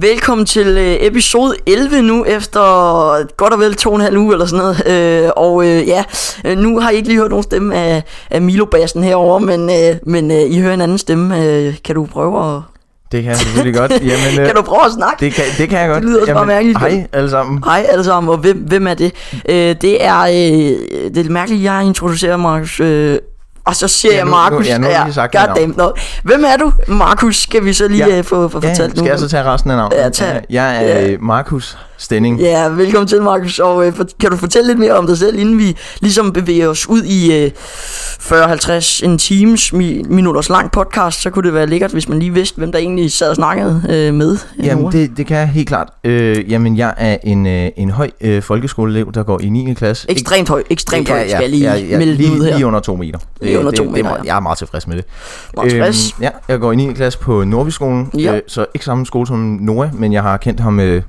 Velkommen til øh, episode 11 nu, efter godt og vel to og en halv uge eller sådan noget. Øh, og øh, ja, øh, nu har I ikke lige hørt nogen stemme af, af Milo-bassen herover, men, øh, men øh, I hører en anden stemme. Øh, kan du prøve at... Det kan jeg selvfølgelig godt. Jamen, øh, kan du prøve at snakke? Det kan, det kan jeg godt. Det lyder også bare mærkeligt. Hej alle sammen. Hej alle sammen, og hvem, hvem er det? Øh, det er øh, det er mærkeligt, jeg introducerer Markus. Øh, og så siger Ja, jeg nu- Markus. nu- ja, nu har jeg lige sagt mit navn. goddamn, nå. Hvem er du? Markus, skal vi så lige Ja. ja. øh, få, få Ja, fortalt skal nu? jeg så tage resten af navnet? Ja, tag. Jeg er øh, Markus Stenning. Ja, velkommen til, Markus. Og øh, for, kan du fortælle lidt mere om dig selv, inden vi ligesom bevæger os ud i øh, 40-50 en times mi- minutters lang podcast, så kunne det være lækkert, hvis man lige vidste, hvem der egentlig sad og snakkede øh, med. Jamen, det, det kan jeg helt klart. Øh, jamen, jeg er en, øh, en høj øh, folkeskoleelev, der går i 9. klasse. ekstremt høj, ekstremt høj, skal jeg lige ja, ja, melde lige, den ud her. Lige under to meter. Det- Lige under det, to det, meter, Det, er ja. meget- jeg er meget tilfreds med det. Øhm, Meget tilfreds. ja, jeg går i 9. klasse på Nordbyskolen, Ja. øh, så ikke samme skole som Nora, men jeg har kendt ham øh,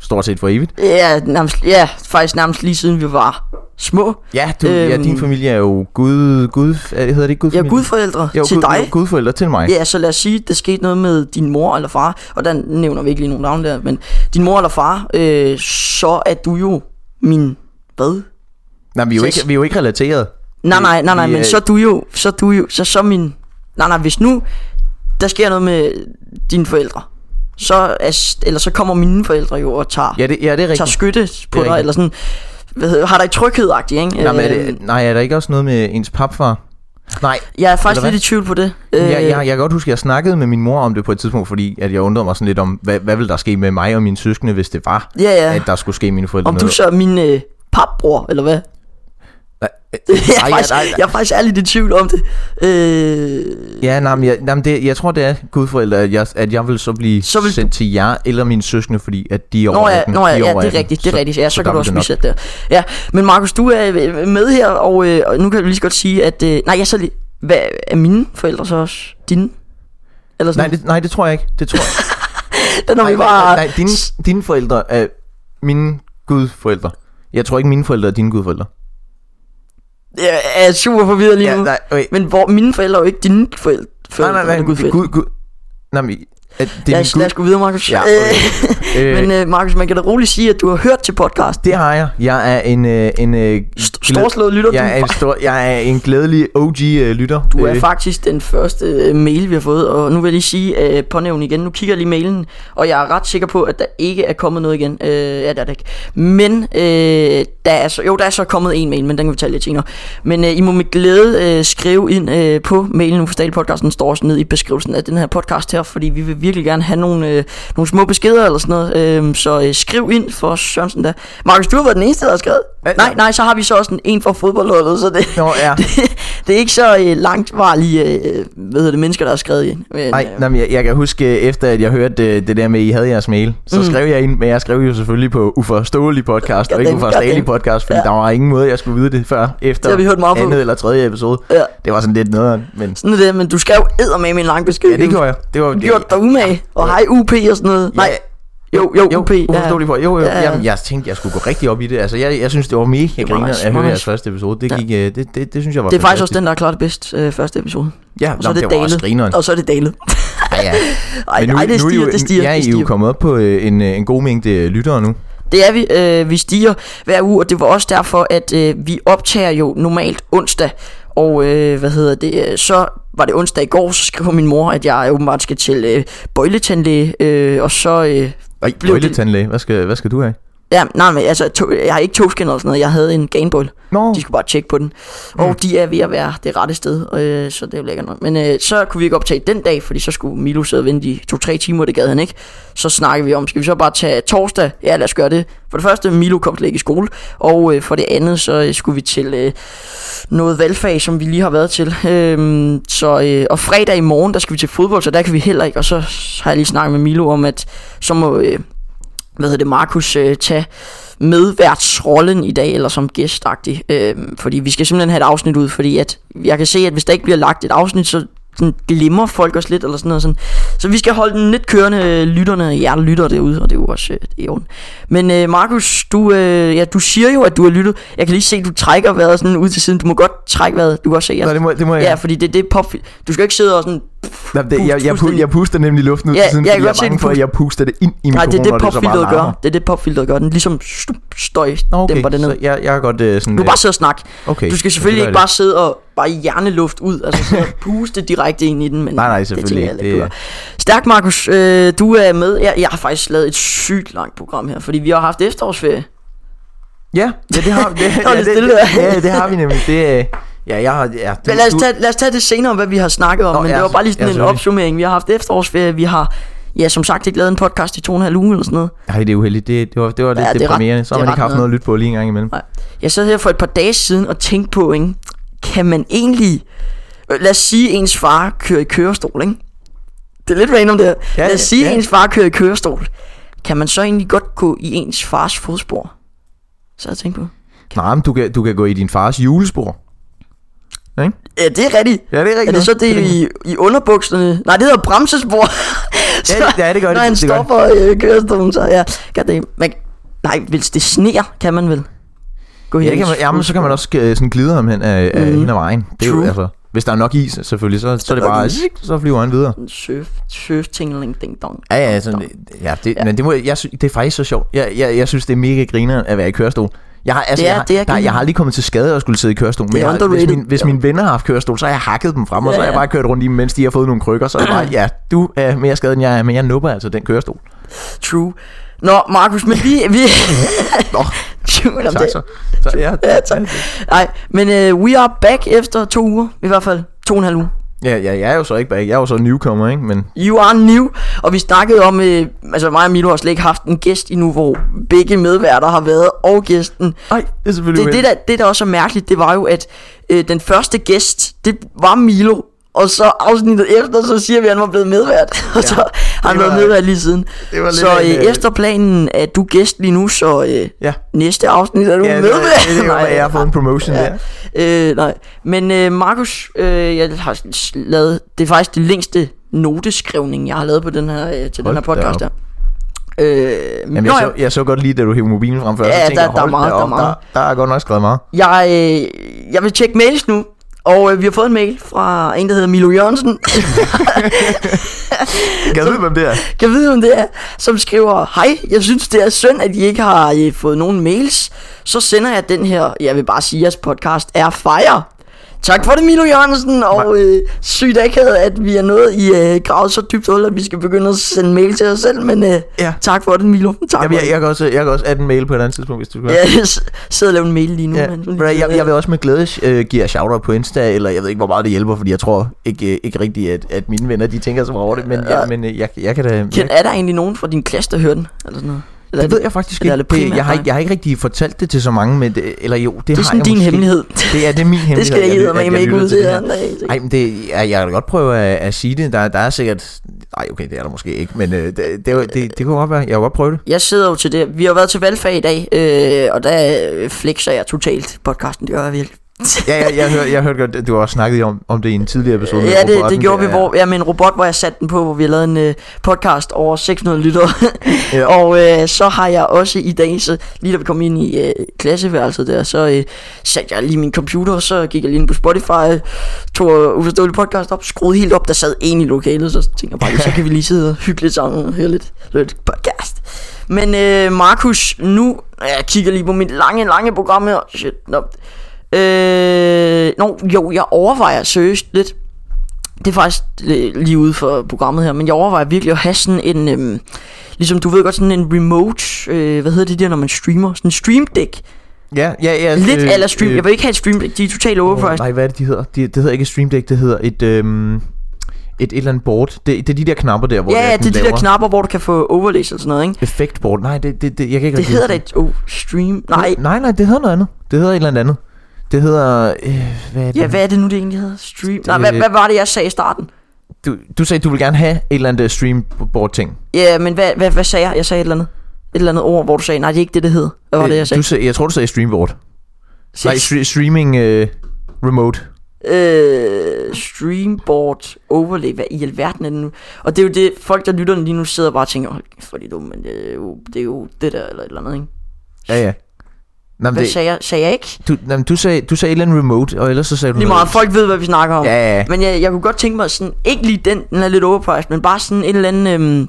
stort set for evigt. Ja, nærmest, ja, faktisk nærmest lige siden vi var små. Ja, du, øhm, ja, Øhm. din familie er jo gud, gud, øh, hedder det ikke Jeg gudfamilie? er gudforældre Jo, til gud, dig. Jo, gudforældre til mig. Ja, så lad os sige, det skete noget med din mor eller far, og der nævner vi ikke lige nogen navn der, men din mor eller far, øh, så er du jo min, hvad? Nej, vi er, jo Ses. ikke, vi er jo ikke relateret. Nej, nej, nej, nej, Vi men er- så er du jo, så er du jo, så, så min, nej, nej, hvis nu, der sker noget med dine forældre, så, er, s- eller så kommer mine forældre jo og tager, Ja, det, ja, det er tager rigtigt. skytte på Det dig, er rigtigt. eller sådan, hvad hedder, har dig tryghed ikke? Nej, men er Øh, det, nej, er der ikke også noget med ens papfar? Nej, jeg er faktisk eller lidt i tvivl på det. Øh, jeg, jeg, jeg kan godt huske, at jeg snakkede med min mor om det på et tidspunkt, fordi at jeg undrede mig sådan lidt om, hvad, hvad ville der ske med mig og mine søskende, hvis det var, ja, ja. at der skulle ske mine forældre Om du noget. så er min øh, papbror, eller hvad? Nej, øh, jeg, er nej, faktisk, nej, jeg er faktisk ærligt i tvivl om det. Øh, Ja, nej, men jeg, nej, men det, jeg tror, det er gudforældre, at jeg, at jeg vil så blive Så så vil vil sendt til jer eller mine søskende, fordi at de er over Nå ja, 18. nå ja, de ja, over det 18. er rigtigt, det er rigtigt. Ja, så, så kan du der også vil det blive sat der. Ja, men Markus, du er øh, med her, og, øh, og nu kan vi lige så godt sige, at... Øh, nej, jeg så lige... Hvad, er mine forældre så også dine? Eller Nej sådan det, nej, det tror jeg ikke. Det tror jeg det, når Nej, vi nej, bare... nej, nej dine, dine forældre er mine gudforældre. Jeg tror ikke, mine forældre er dine gudforældre. Jeg er super forvirret lige nu. nej, okay. Men hvor mine forældre er jo ikke dine forældre. nej, nej, nej, men gud, gudforældre. gud, gud. Nej, men, at det Lad er os, lad min os gå videre, Markus. Ja, øh, gud. Øh, men øh, Markus, man kan da roligt sige, at du har hørt til podcast. det har jeg. Jeg er en... Øh, en øh, St- storslået lytter, du jeg er, en stor, jeg er en glædelig øh, OG-lytter. Du er faktisk den første øh, mail, vi har fået, og nu vil jeg lige sige, øh, pånævn igen, nu kigger jeg lige mailen, og jeg er ret sikker på, at der ikke er kommet noget igen. Øh, ja, der er det ikke. Men, øh, der er så, jo, der er så kommet en mail, men den kan vi tage lidt senere. Men øh, I må med glæde øh, skrive ind øh, på mailen, nu podcasten den står også ned i beskrivelsen af den her podcast her, fordi vi vil virkelig gerne have nogle, øh, nogle små beskeder eller sådan noget, øh, så øh, skriv ind for Sørensen da. Markus, du har været den eneste, der har skrevet. Ja, Nej, ja. nej, så har vi så også en, en fra fodboldholdet, så det... Nå, ja. Det er ikke så øh, langtvarlige øh, hvad hedder det, mennesker, der har skrevet ind. Men, Nej, øh, nej men jeg, jeg kan huske, øh, efter at jeg hørte øh, det der med, at I havde jeres mail, så mm. skrev jeg ind, men jeg skrev jo selvfølgelig på uforståelig podcast, og ikke Goddamn, uforståelig goddamn. podcast, fordi Ja. ja. der var ingen måde, jeg skulle vide det før, efter Det har vi hørt meget på. andet eller tredje episode. Ja. Det var sådan lidt noget, men... sådan er det, men du skrev eddermame med en lang besked. Ja, det gjorde jeg. Det var Du gjorde dig umage, og hej UP og sådan noget. Nej, jo, jo, jo, UP. ja. uforståelig for. Jo, jo, Ja, ja. ja. Jamen, jeg tænkte, jeg skulle gå rigtig op i det. Altså, jeg, jeg synes, det var mega var griner nice, at det var høre nice. jeres første episode. Det, Ja. gik, øh, det, det, det, synes jeg var Det er faktisk også fantastisk. den, der har klaret det bedst øh, første episode. Ja, Og så er nå, det, det var også dalet. grineren. og så er det dalet. Ja, ja. Ej, Men nu, ej, det nu er I stiger, jo- det stiger, Ja, det I er stiger. jo kommet op på øh, en, øh, en god mængde lyttere nu. Det er vi. Øh, vi stiger hver uge, og det var også derfor, at øh, vi optager jo normalt onsdag. Og øh, hvad hedder det? øh, Så var det onsdag i går, så skrev min mor, at jeg åbenbart skal til øh, bøjletandlæge. Øh, og så... Øh, Ej, blev det- bøjletandlæge. Hvad skal, hvad skal du have? Ja, nej, men altså, to, jeg har ikke togskinner eller sådan noget. Jeg havde en Gainball. Nå, De skulle bare tjekke på den. Og de er ved at være det rette sted, øh, så det er jo lækkert nok. Men øh, så kunne vi ikke optage den dag, fordi så skulle Milo sidde og vente i to-tre timer, det gad han ikke. Så snakkede vi om, skal vi så bare tage torsdag? Ja, lad os gøre det. For det første, Milo kom slet ikke i skole. Og øh, for det andet, så øh, skulle vi til øh, noget valgfag, som vi lige har været til. Øhm, så, øh, og fredag i morgen, der skal vi til fodbold, så der kan vi heller ikke. Og så har jeg lige snakket med Milo om, at så må... Øh, hvad hedder det, Markus øh, tage medværtsrollen i dag, eller som gæstagtig. Øh, fordi vi skal simpelthen have et afsnit ud, fordi at jeg kan se, at hvis der ikke bliver lagt et afsnit, så sådan, glemmer folk os lidt, eller sådan noget. Sådan. Så vi skal holde den lidt kørende, øh, lytterne, jer der lytter derude, og det er jo også øh, det er i orden. Men øh, Markus, du, øh, ja, du siger jo, at du har lyttet. Jeg kan lige se, at du trækker vejret sådan ud til siden. Du må godt trække vejret. Du kan godt se, at Nå, det må, det må jeg. Ja, fordi det, det er pop. Du skal ikke sidde og sådan Nej, det, Pust- jeg, jeg, fuldstændig. pu- jeg puster nemlig luften ud Ja, til siden, jeg kan fordi jeg godt se er bange den for, at jeg puster det ind i Nej, det er mikrofonen, det og så bare popfilteret larmer. gør. Det er det popfilteret gør. Den ligesom stup, støj Nå, okay, dæmper det ned. så jeg, jeg er godt øh, sådan... Du øh, kan bare sidde og snakke. okay, Du skal så selvfølgelig gør ikke jeg bare sidde og bare hjerneluft ud, altså sidde og puste direkte ind i den, men Nej, nej, det tænker selvfølgelig jeg heller ikke. ikke. Det, du gør. Stærk, Markus. Øh, du er med. Jeg, jeg har faktisk lavet et sygt langt program her, fordi vi har haft efterårsferie. øh, ja, ja, det har, det, var ja, lidt det, stille det, der. ja, det har vi nemlig. Det, øh, ja, jeg har... Ja, du, Men lad, du- os tage, lad os tage det senere, hvad vi har snakket om, Nå, Nå, men ja, det var bare lige sådan ja, en selvfølgelig. opsummering. Vi har haft efterårsferie, vi har, ja, som sagt, ikke lavet en podcast i to og en halv uge eller sådan noget. Ej, det er uheldigt. Det, det var, det var lidt Ja, ja, det er ret- deprimerende. Så har det er man ikke ret haft noget. noget at lytte på lige en gang imellem. Nej. Jeg sad her for et par dage siden og tænkte på, ikke? kan man egentlig... Øh, Lad os sige, ens far kører i kørestol, ikke? Det er lidt random det her. Ja, Lad os sige, ja. ens far kører i kørestol. Kan man så egentlig godt gå i ens fars fodspor? Så jeg tænkte på. Nej, men du kan, du kan gå i din fars julespor. Ikke? Ja, det er rigtigt. Ja, det er rigtigt. Er det så det i, i underbukserne? Nej, det hedder bremsespor. så, Ja, det- ja, det gør det. Når han Det gør det. stopper i øh, kørestolen, så ja. Kan det, man, nej, hvis det sneer, kan man vel? Gå Ja, det i kan ens man, jamen, så kan man fodspor. også øh, sådan glide ham hen af, af Mhm. hen ad vejen. Det er jo, True. altså, hvis der er nok is, selvfølgelig, så, så er det der er nok bare, is. zik, så flyver han videre. Surf, surf, tingling, ding dong. Ja, ja, sådan, ja, det, ja. men det, må, jeg, sy- det er faktisk så sjovt. Jeg, jeg, jeg synes, det er mega griner at være i kørestol. Jeg har, altså, Det er- jeg, har, det er der, jeg har grineren. lige kommet til skade og skulle sidde i kørestol. Men Det er jeg, har- hvis, underrated. min, hvis Ja. mine venner har haft kørestol, så har jeg hakket dem frem, og så har Ja, jeg ja. bare kørt rundt i dem, mens de har fået nogle krykker. Så er jeg bare, ja, du er mere skadet end jeg er, men jeg nupper altså den kørestol. True. Nå, Markus, men vi... vi Nå, Tvivl om tak det. så. så ja, Ja, tak. Nej, men uh, we are back efter to uger, i hvert fald to og en halv uge. Ja, ja, jeg er jo så ikke bag. Jeg er jo så newcomer, ikke? Men You are new, og vi snakkede om, øh, altså mig og Milo har slet ikke haft en gæst endnu, hvor begge medværter har været, og gæsten. Nej, det er selvfølgelig Det, det, der, det der også er mærkeligt, det var jo, at øh, den første gæst, det var Milo, og så afsnittet efter, så siger vi, at han var blevet medvært, og så har han det været var- medvært lige siden. det var lidt så af en, øh, øh, efter planen er du gæst lige nu, så øh, Ja. næste afsnit er du Ja, det, det, medvært. det, det, det, Nej, jeg har fået en promotion ja. Ja. der. Øh, nej. Men øh, Markus, øh, jeg har s- lavet, det er faktisk det længste noteskrivning, jeg har lavet på den her, øh, til Hold den her podcast da der. Øh, Jamen, nå jeg, ja. så, jeg så godt lige, da du hævde mobilen frem før. Ja, så tænkte der- jeg, der er hold meget, da der er op, meget. Der, der er godt nok skrevet meget. Jeg, øh, jeg vil tjekke mails nu, og øh, vi har fået en mail fra en, der hedder Milo Jørgensen. Kan du vide, hvem det er? kan vide, hvem det er, som skriver, hej, jeg synes, det er synd, at I ikke har øh, fået nogen mails. Så sender jeg den her, jeg vil bare sige, at jeres podcast er fire. Tak for det, Milo Jørgensen, og øh, sygt akavet, at vi er nået i øh, gravet så dybt hul, at vi skal begynde at sende mail til os selv, men øh, Ja. tak for det, Milo. Tak Jamen, for jeg, jeg, kan også, jeg kan også adde en mail på et andet tidspunkt, hvis du kan. det. Jeg s- sidder og laver en mail lige nu. Ja, men- men jeg, jeg vil også med glæde øh, give jer shout på Insta, eller jeg ved ikke, hvor meget det hjælper, fordi jeg tror ikke, øh, ikke rigtigt, at, at mine venner, de tænker så meget over det, men, ja, men øh, jeg, jeg kan da... Ken, er der egentlig nogen fra din klasse, der hører den? Eller sådan noget? Eller det ved jeg faktisk eller ikke. er Det det primært jeg, har, dig? ikke- jeg har ikke rigtig fortalt det til så mange, men det, eller jo, det, Det har er sådan jeg din måske. hemmelighed. Det er, det er min hemmelighed. Det skal jeg at hedder at med ikke lytter ud til til. det her. andre. Nej, men det, jeg, jeg kan da godt prøve at, at sige det. Der, der er sikkert... Nej, okay, det er der måske ikke, men øh, det, det, det, det, det kunne godt være. Jeg kunne godt prøve det. Jeg sidder jo til det. Vi har været til valgfag i dag, øh, og der øh, flexer jeg totalt podcasten. Det gør jeg virkelig. Ja, ja jeg, hørte, jeg hørte godt, at du har også snakket om, om det i en tidligere episode. med Ja, det, det robotten. gjorde vi, er- hvor, ja, med en robot, hvor jeg satte den på, hvor vi lavede en øh, podcast over 600 lyttere. Ja. og øh, så har jeg også i dag, så lige da vi kom ind i øh, klasseværelset der, så øh, satte jeg lige min computer, og så gik jeg lige ind på Spotify, øh, tog øh, uforståelig podcast op, skruede helt op, der sad en i lokalet, så tænkte jeg bare, lige, så kan vi lige sidde og hygge lidt sammen og høre lidt, lidt podcast. Men øh, Markus, nu, jeg kigger lige på mit lange, lange program her, shit, nå. Øh, no, jo, jeg overvejer seriøst lidt, det er faktisk øh, lige ude for programmet her, men jeg overvejer virkelig at have sådan en, øhm, ligesom du ved godt, sådan en remote, øh, hvad hedder det der, når man streamer? Sådan en stream deck. Ja, ja, ja. altså, Lidt øh, eller stream, øh, jeg vil ikke have et stream deck, de er totalt overpriced. Nej, hvad er det, de hedder? De, det hedder ikke et Stream Deck, det hedder et... Øhm, et, et eller andet board. Det, det er de der knapper der, hvor ja, det, ja, er, det er den de der laver knapper, hvor du kan få overlays og sådan noget, ikke? Effektboard. Nej, det, det, det, jeg kan ikke Det rigtig hedder da et huske oh, stream, nej. Nej, nej, det hedder noget andet. Det hedder et eller andet andet. Det hedder... Øh, hvad er det? Ja, hvad er det nu, det egentlig hedder? Stream? Nej, Det- hvad, hvad var det, jeg sagde i starten? Du, du sagde, du vil gerne have et eller andet streamboard-ting. Ja, men hvad, hvad, hvad sagde jeg? Jeg sagde et eller andet. Et eller andet ord, hvor du sagde, nej, det er ikke det, det hed. Hvad var det, jeg sagde? Øh, Du sagde, jeg tror, du sagde streamboard. Nej, stre- streaming øh, remote. øh, streamboard overlay, hvad i alverden er det nu? Og det er jo det, folk der lytter lige nu sidder og bare og tænker, hold kæft, hvor er de dumme, men det er, jo, det er jo det der eller et eller andet, ikke? Ja, ja. Nå, men Hvad det, sagde jeg? Sagde jeg ikke? du, nå, men du, sagde, du sagde Alien Remote, og ellers så sagde du Lige noget. meget, folk ved, hvad vi snakker om. Ja, ja, ja. Men jeg, jeg kunne godt tænke mig sådan, ikke lige den, den er lidt overpriced, men bare sådan en eller anden... Øhm,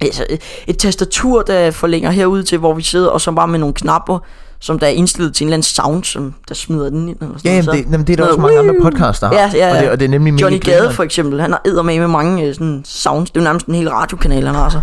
altså, et tastatur, der forlænger herude til, hvor vi sidder, og så bare med nogle knapper, som der er indstillet til en eller anden sound, som der smider den ind. Eller sådan Ja, noget, jamen, så- det, jamen, det er der Noget også mange andre woo! podcasts, der har. Ja, ja, ja. Og, det, og det er nemlig mega Johnny Gade grineren. for eksempel, han har æder med mange øh, sådan sounds. Det er jo nærmest en hel radiokanal, han har så.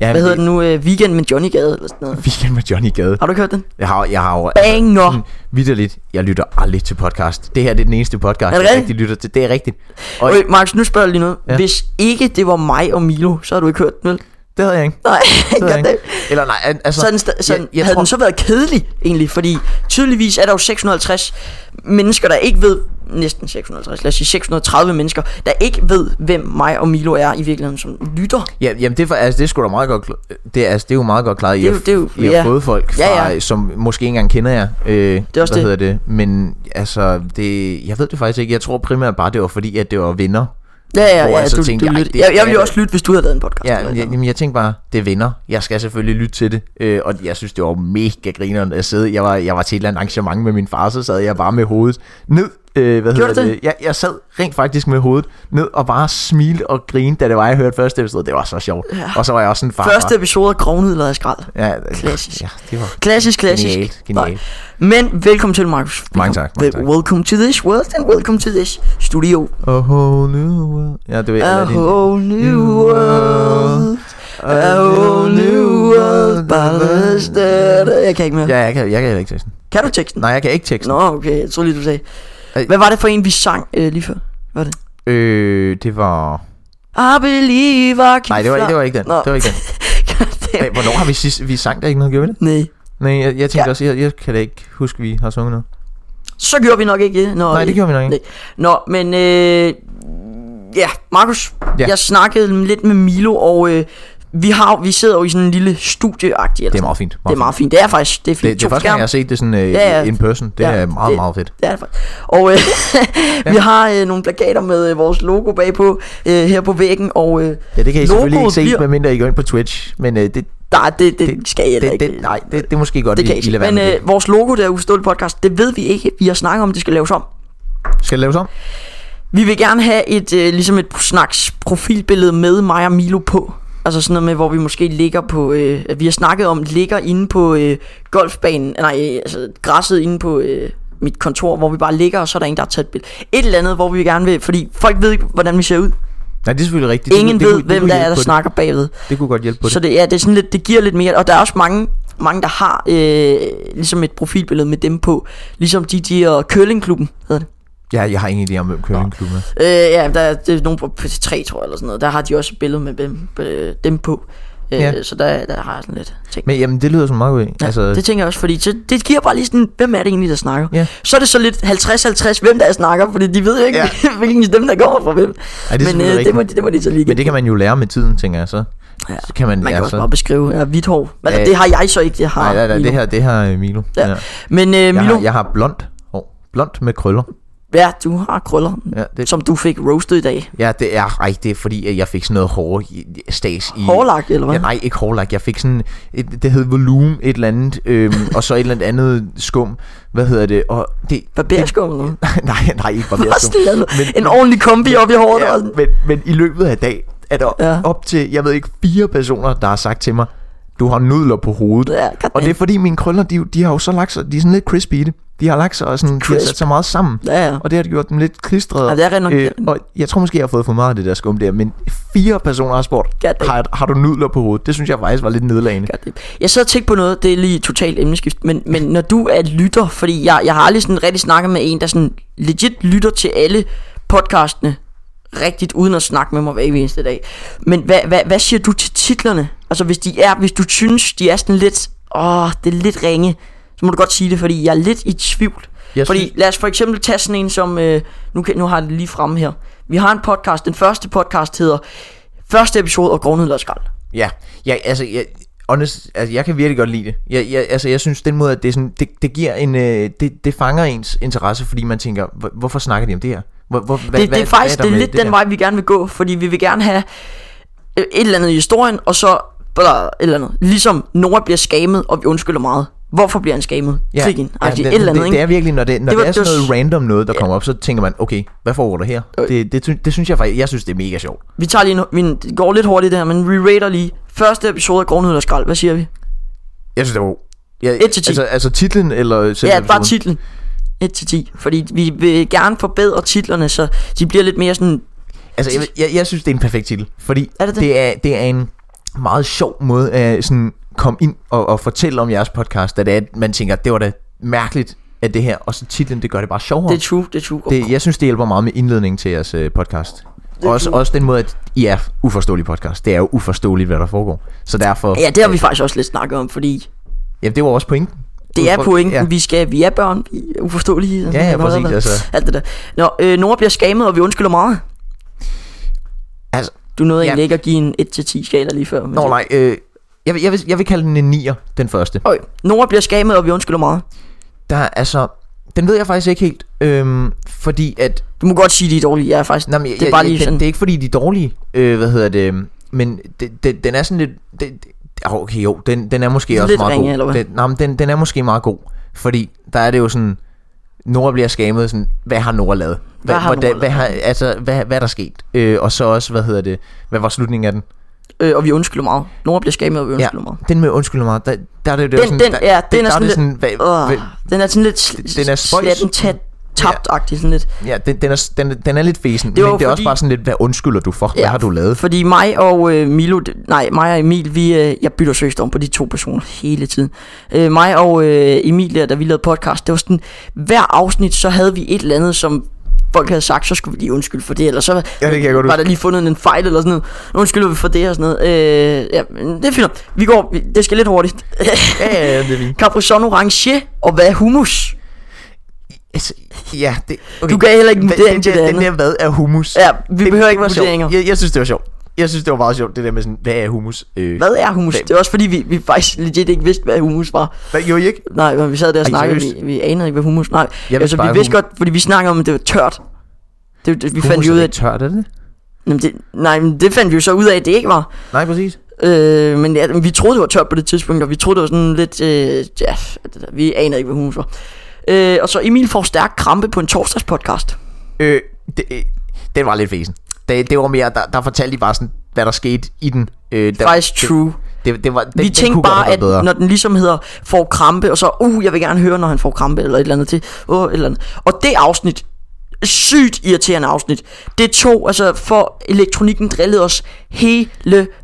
Ja, Hvad hedder den nu? Øh, Weekend med Johnny Gade eller sådan noget. Weekend med Johnny Gade. Har du ikke hørt den? Jeg har, jeg har jo... Banger! Vitterligt, jeg lytter aldrig til podcast. Det her det er den eneste podcast, Er det jeg rigtigt? rigtig lytter til. Det er rigtigt. Og Okay, Max, nu spørger jeg lige noget. Ja. Hvis ikke det var mig og Milo, så har du ikke hørt den, vel? det havde jeg ikke. Nej, Det havde jeg ikke. ikke. Eller nej, al- altså... Så, er den sta- så jeg, jeg havde tror, den så været kedelig egentlig, fordi tydeligvis er der jo 650 mennesker, der ikke ved, næsten 650, lad os sige 630 mennesker, der ikke ved, hvem mig og Milo er i virkeligheden, som lytter. Ja, jamen det er, for, altså, det er sgu da meget godt, kl- det er, altså, det er jo meget godt klaret, I Det er har, jo- det er jo- I har ja. fået folk, fra, Ja, ja, ja. ja. som måske ikke engang kender jer. Øh, det er også hvad det. hedder det? Men altså, det, jeg ved det faktisk ikke. Jeg tror primært bare, det var fordi, at det var venner. Ja, ja, Hvor ja, jeg så du, tænkte, du ej, lytter. det Jeg, jeg er ville jo da- også lytte, hvis du havde lavet en podcast. Ja, eller jeg, noget. jamen, jeg tænkte bare, det er venner. Jeg skal selvfølgelig lytte til det. Øh, og jeg synes, det var mega grineren at sidde. Jeg var, jeg var til et eller andet arrangement med min far, så sad jeg bare med hovedet ned. Øh, hvad hedder du det? det? Jeg, jeg sad rent faktisk med hovedet ned og bare smilte og grinede, da det var, jeg hørte første episode. Det var så sjovt. Ja. Og så var jeg også sådan far. Første episode af Grovnidler af Skrald. Ja, Klassisk. Ja, det var Klassisk, klassisk. Genialt, genialt. Nej. Men velkommen til, Markus. Mange tak, mange Vel- tak. Welcome to this world and welcome to this studio. A whole new world. Ja, det Mm. ved A jeg. whole new world. A whole new world. Ballast. Jeg kan ikke mere. Ja, jeg kan, jeg kan ikke teksten. Kan du teksten? Nej, jeg kan ikke teksten. Nå, okay. Jeg troede lige, du sagde. Ej. Hvad var det for en, vi sang øh, lige før? Var det? Øh, det var... I believe I can Nej, det var, det var ikke den. Nå. Det var ikke den. Hey, hvornår har vi sidst... Vi sang der ikke noget, gjorde vi det? Nej. Nej, jeg, jeg tænkte Ja. ja. også, jeg, jeg kan da ikke huske, vi har sunget noget. Så gjorde vi nok ikke det. Nå, Nej, det gjorde vi nok ikke. Nej. Nå, men øh, ja, Markus, ja. Ja. jeg snakkede lidt med Milo, og øh, vi, har, vi sidder jo i sådan en lille studieagtig. eller sådan. Det er meget fint. det er meget fint. Det er faktisk det er Det, fint. det er To første gang, skærme. jeg har set det sådan øh, Ja, ja. in person. Det Ja, er meget, det- meget fedt. Det er det faktisk. Og øh, vi har øh, nogle plakater med øh, vores logo bagpå øh, her på væggen, og øh, Ja, det kan I Logoet selvfølgelig ikke se, bliver- medmindre I går ind på Twitch. Men øh, det, der, det, det, Det- skal jeg heller det, ikke. det, nej, det, det er måske godt, det kan vi, jeg I ikke. lader være Men med det. øh, vores logo der Ustålet Podcast, det ved vi ikke. Vi har snakket om, at det skal laves om. øh, Skal det laves om? Vi vil gerne have et øh, ligesom et snaks profilbillede med mig og Milo på. Altså sådan noget med, hvor vi måske ligger på, øh, vi har snakket om, ligger inde på øh, golfbanen, nej, øh, altså græsset inde på øh, mit kontor, hvor vi bare ligger, og så er der en, der har taget et billede. Et eller andet, hvor vi gerne vil, fordi folk ved ikke, hvordan vi ser ud. Nej, det er selvfølgelig rigtigt. Det Ingen kunne- det ved, kunne- det hvem kunne der er, hjælpe der på det. snakker bagved. Det kunne godt hjælpe på det. Så det, ja, det, er sådan lidt, det giver lidt mere, og der er også mange, mange der har øh, ligesom et profilbillede med dem på, ligesom de, de og curlingklubben hedder det. Ja, jeg har ingen idé om, hvem curlingklubben er. Øh, ja, der er, det er nogen på P3, tror jeg, eller sådan noget. Der har de også et billede med dem, øh, dem på. Øh, Ja. Så der, der har jeg sådan lidt ting. Men jamen, det lyder som meget godt. Ja, Altså, det tænker jeg også, fordi så, det giver bare lige sådan, hvem er det egentlig, der snakker? Ja. Så er det så lidt 50-50, hvem der snakker, fordi de ved jo ikke, ja. hvilken af dem, der kommer fra hvem. er Men øh, selvfølgelig det, må, rigtigt. det må de så lige men det kan man jo lære med tiden, tænker jeg så. Ja, Så kan man, altså- man kan ja, også så- bare beskrive, ja, hvidt hår. Altså, Ja. det har jeg så ikke, det har Nej, nej, nej, Milo. det her, det her øh, Milo. Ja. Ja. Men øh, Jeg, Milo, har, jeg har blondt hår. Blondt med krøller. ja, du har krøller, Ja, det, som du fik roasted i dag. ja, det er, ej, det er fordi, at jeg fik sådan noget hårde i- stas i... Hårlagt, eller hvad? Ja, nej, ikke hårlak. Jeg fik sådan, et, det hed volume, et eller andet, øhm, og så et eller andet andet skum. Hvad hedder det? Og det, Barberskum, eller hvad? det nej, nej, ikke Bare barberskum. sådan en- Men- En ordentlig kombi op i håret, der var Ja, sådan, men, men i løbet af dag er der Ja. ja. op til, jeg ved ikke, fire personer, der har sagt til mig, du har nudler på hovedet. Ja, og det er fordi mine krøller, de, de har jo så lagt sig, de er sådan lidt crispy i det. De har lagt sig og sådan, de har Crisp. sat så meget sammen. Ja, ja. Og det har gjort dem lidt klistrede. Ja, det er rigtig nok- og jeg tror måske, jeg har fået for meget af det der skum der, men fire personer har spurgt, God damn. har, har du nudler på hovedet? Det synes jeg faktisk var lidt nedlagende. Gør det. Jeg sad og tænkte på noget, det er lige totalt emneskift, men, men når du er lytter, fordi jeg, jeg har aldrig sådan rigtig snakket med en, der sådan legit lytter til alle podcastene rigtigt, uden at snakke med mig hver evig eneste dag. Men hvad, hvad, hvad siger du til titlerne? Altså hvis, de er, hvis du synes, de er sådan lidt, åh, det er lidt ringe, så må du godt sige det, fordi jeg er lidt i tvivl. Jeg fordi synes- lad os for eksempel tage sådan en som, øh, nu, kan, nu har jeg det lige fremme her. Vi har en podcast, den første podcast hedder Første episode af Grovnhed og Skrald. Ja, ja altså, jeg, honest, altså, jeg kan virkelig godt lide det. Jeg, jeg, altså, jeg synes den måde, at det, er sådan, det, det giver en, øh, det, det fanger ens interesse, fordi man tænker, hvor, hvorfor snakker de om det her? Hvor, hvor, hvad, det, det er faktisk der det er med lidt den her? vej, vi gerne vil gå, fordi vi vil gerne have øh, et eller andet i historien, og så eller et eller andet. Ligesom Nora bliver skamet, og vi undskylder meget. Hvorfor bliver han skamet? Ja, Krigen, ja, det, et eller andet, det, ikke? det er virkelig, når det, når Det det, var- det er sådan det var noget s- random noget, der kommer op, så tænker man, okay, hvad foregår der her? Øh. Det, det, sy- det synes jeg faktisk, jeg synes, det er mega sjovt. Vi tager lige en, vi det går lidt hurtigt der, men vi rater lige. Første episode af Grovnhed og Skrald, hvad siger vi? Jeg synes, det var... Jeg, Et til ti. altså, altså titlen, eller selve Ja, bare episoden? titlen. 1-10, fordi vi vil gerne forbedre titlerne, så de bliver lidt mere sådan... Altså, jeg, jeg, jeg synes, det er en perfekt titel, fordi Er det det? Det, er, det er en meget sjov måde at øh, sådan komme ind og, og fortælle om jeres podcast, at det er, at man tænker, det var da mærkeligt, at det her, og så titlen, det gør det bare sjovere. Det er true, det er true. det, jeg synes, det hjælper meget med indledningen til jeres øh, podcast. Også, også den måde, at I er uforståelig podcast. Det er jo uforståeligt, hvad der foregår. Så derfor... Ja, det har vi faktisk også lidt snakket om, fordi Jamen, det var også pointen. det er Udfordring- pointen, Ja. vi skal, vi er børn, vi er uforståelige. sådan, ja, hvad præcis, hedder det? altså. Alt det der. Nå, øh, Nora bliver skamet, og vi undskylder meget. Altså, Du nåede Ja. egentlig ikke at give en 1-10 skala lige før. men nå det- nej, øh, jeg, vil- jeg, vil, jeg vil kalde den en nier, den første. Øj, Nora bliver skamet, og vi undskylder meget. Der er altså... Den ved jeg faktisk ikke helt, øhm, fordi at... Du må godt sige, de er dårlige. Jeg er faktisk... Nej, men, jeg, Det er bare jeg, lige jeg, sådan. det, det er ikke fordi, de er dårlige, øh, hvad hedder det, men det, det, den er sådan lidt... Det, det, ah, okay, jo, den, den er måske Lidt også meget ringe, god. eller hvad? Den, nej, men den, den er måske meget god, fordi der er det jo sådan... Nora bliver skamet, sådan, hvad har Nora lavet? Hvad har hvordan, Nora hvad, har, altså, hvad, hvad er der sket? Øh, og så også, hvad hedder det, hvad var slutningen af den? Øh, og vi undskylder meget. Nora bliver skamet, og vi undskylder meget. Den med undskyld mig, der, der er det jo det Den- er sådan, den- der, ja, den der, er sådan der det lidt- sådan, hvad, Åh, hvad, den er sådan lidt sl- Den er spøjs. slatten tæt, tabt-agtig sådan lidt. ja, den, den, er, den, den er lidt fesen, Det det var men det er også fordi- bare sådan lidt, hvad undskylder du for? Ja. Hvad Ja. har du lavet? Fordi mig og øh, Milo, d- nej, mig og Emil, vi, øh, jeg bytter søst om på de to personer hele tiden. Øh, mig og øh, Emil, der, da vi lavede podcast, det var sådan, hver afsnit, så havde vi et eller andet, som folk havde sagt, så skulle vi lige undskylde for det, eller så Ja, det kan jeg godt var huske. der lige fundet en fejl eller sådan noget. Nu Undskylder vi for det og sådan noget. Øh, ja, men det er fint. nok. Vi går, vi- det skal lidt hurtigt. Ja, ja, ja, det er fint. Capri Sun Orange, og hvad er hummus? Altså, ja, det, okay. Du gav heller ikke en Hvad- vurdering den, til det der, den andet. der, hvad er hummus? Ja, vi det, behøver ikke det var sjovt. vurderinger. Jeg, jeg synes, det var sjovt. Jeg synes, det var meget sjovt, det der med sådan, hvad er hummus? Øh, Hvad er hummus? Hvad- Det er også fordi, vi, vi faktisk legit ikke vidste, hvad hummus var. Hvad gjorde I ikke? Nej, men vi sad der og Ej, snakkede, vi, seriøst? vi anede ikke, hvad hummus... Nej, vidste altså, bare, vi vidste hum- godt, fordi vi snakkede om, at det var tørt. Det, det vi fandt Hummus vi ud er af... lidt tørt, er det det? Jamen, det, nej, men det fandt vi jo så ud af, at det ikke var. Nej, præcis. Øh, men ja, vi troede, det var tørt på det tidspunkt, og vi troede, det var sådan lidt... Øh, ja, det der, vi anede ikke, hvad hummus var. Øh, og så Emil får stærk krampe på en torsdagspodcast. Øh, det, øh, den var lidt fesen. Det, det var mere, der, der fortalte de bare sådan, hvad der skete i den. Øh, der, Faktisk true. Det, det, det var, den, Vi den tænkte kunne godt have bare, været at bedre. når den ligesom hedder får krampe, og så, uh, jeg vil gerne høre, når han får krampe, eller et eller andet til, uh, et eller andet. Og det afsnit, sygt irriterende afsnit, det tog, altså for elektronikken drillede os hele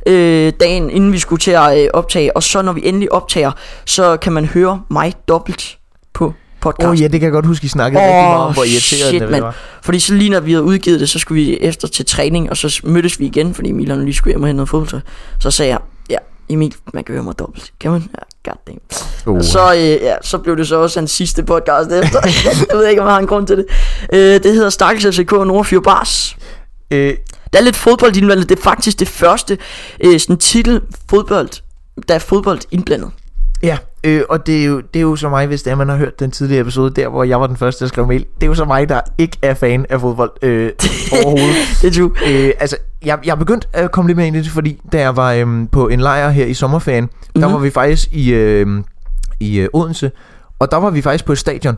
øh, dagen, inden vi skulle til at øh, optage, og så når vi endelig optager, så kan man høre mig dobbelt på podcast. Åh oh, ja, det kan jeg godt huske, I snakkede oh, rigtig meget om, Åh, hvor irriterende shit, det mand. var. Fordi så lige når vi havde udgivet det, så skulle vi efter til træning, og så mødtes vi igen, fordi Emil han lige skulle hjem og hente noget fodboldtøj. Så sagde jeg, ja, Emil, man kan høre mig dobbelt. Kan man? Ja, god damn. Uh. Og så, øh, ja, så blev det så også hans sidste podcast efter. jeg ved ikke, om jeg har en grund til det. Øh, det hedder Stakkels FCK og Nordfjord Bars. Øh, Der er lidt fodbold indblandet. Det er faktisk det første øh, sådan titel fodbold, der er fodbold indblandet. ja, øh, og det er, jo, det er jo så mig, hvis det er, man har hørt den tidligere episode, der hvor jeg var den første, der skrev mail. Det er jo så mig, der ikke er fan af fodbold øh, overhovedet. Det er du. Øh, altså, jeg, jeg er begyndt at komme lidt mere ind i det, fordi da jeg var øhm, på en lejr her i sommerferien, mm-hmm. der Mhm. var vi faktisk i, øhm, i øh, Odense, og der var vi faktisk på et stadion.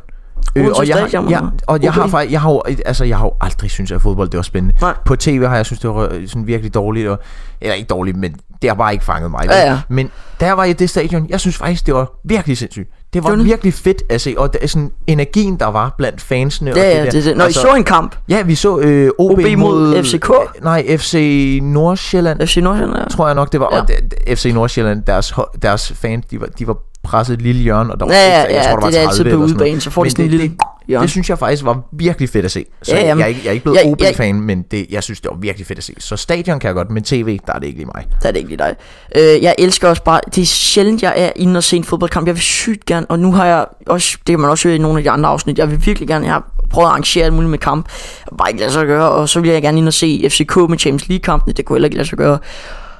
Øh, Odense og jeg, har- Stadion, jeg, eller? og jeg har Okay. faktisk, jeg har, jo- altså, jeg har jo aldrig synes at fodbold det var spændende. Nej. På tv har jeg synes det var øh, sådan virkelig dårligt, og, eller ikke dårligt, men det har bare ikke fanget mig. Ja, vel? ja. Men der var jeg i det stadion, jeg synes faktisk det var virkelig sindssygt. Det var Det var det. virkelig fedt at se, og der, sådan, energien der var blandt fansene. og Ja, det ja, der. det, er det. Når I Altså, så en kamp, Ja, vi så øh, OB, OB mod mod FCK? Nej, FC Nordsjælland, FC Nordsjælland, ja. tror jeg nok det var. Ja. Ja. Og det, det- FC Nordsjælland, deres, ho- deres fans, de var, de var presset et lille hjørne, og der var Ja, ikke- ja, ja, det er altid 30 på eller sådan noget. udebane, så får de Men sådan en det- lille Det, hjørne. det synes jeg faktisk var virkelig fedt at se. Så Ja, ja, jamen. jeg, er ikke, jeg er ikke blevet Jeg- jeg- OB-fan, men det, jeg synes, det var virkelig fedt at se. Så stadion kan jeg godt, men tv, der er det ikke lige mig. Der er det ikke lige dig. Øh, jeg elsker også bare, det er sjældent, jeg er inde og se en fodboldkamp. Jeg vil sygt gerne, og nu har jeg også, det kan man også høre i nogle af de andre afsnit, jeg vil virkelig gerne, jeg har prøvet at arrangere alt muligt med kamp. Jeg har bare ikke lade sig gøre, og så vil jeg gerne ind og se FCK med Champions League-kampene, det kunne heller ikke lade sig gøre.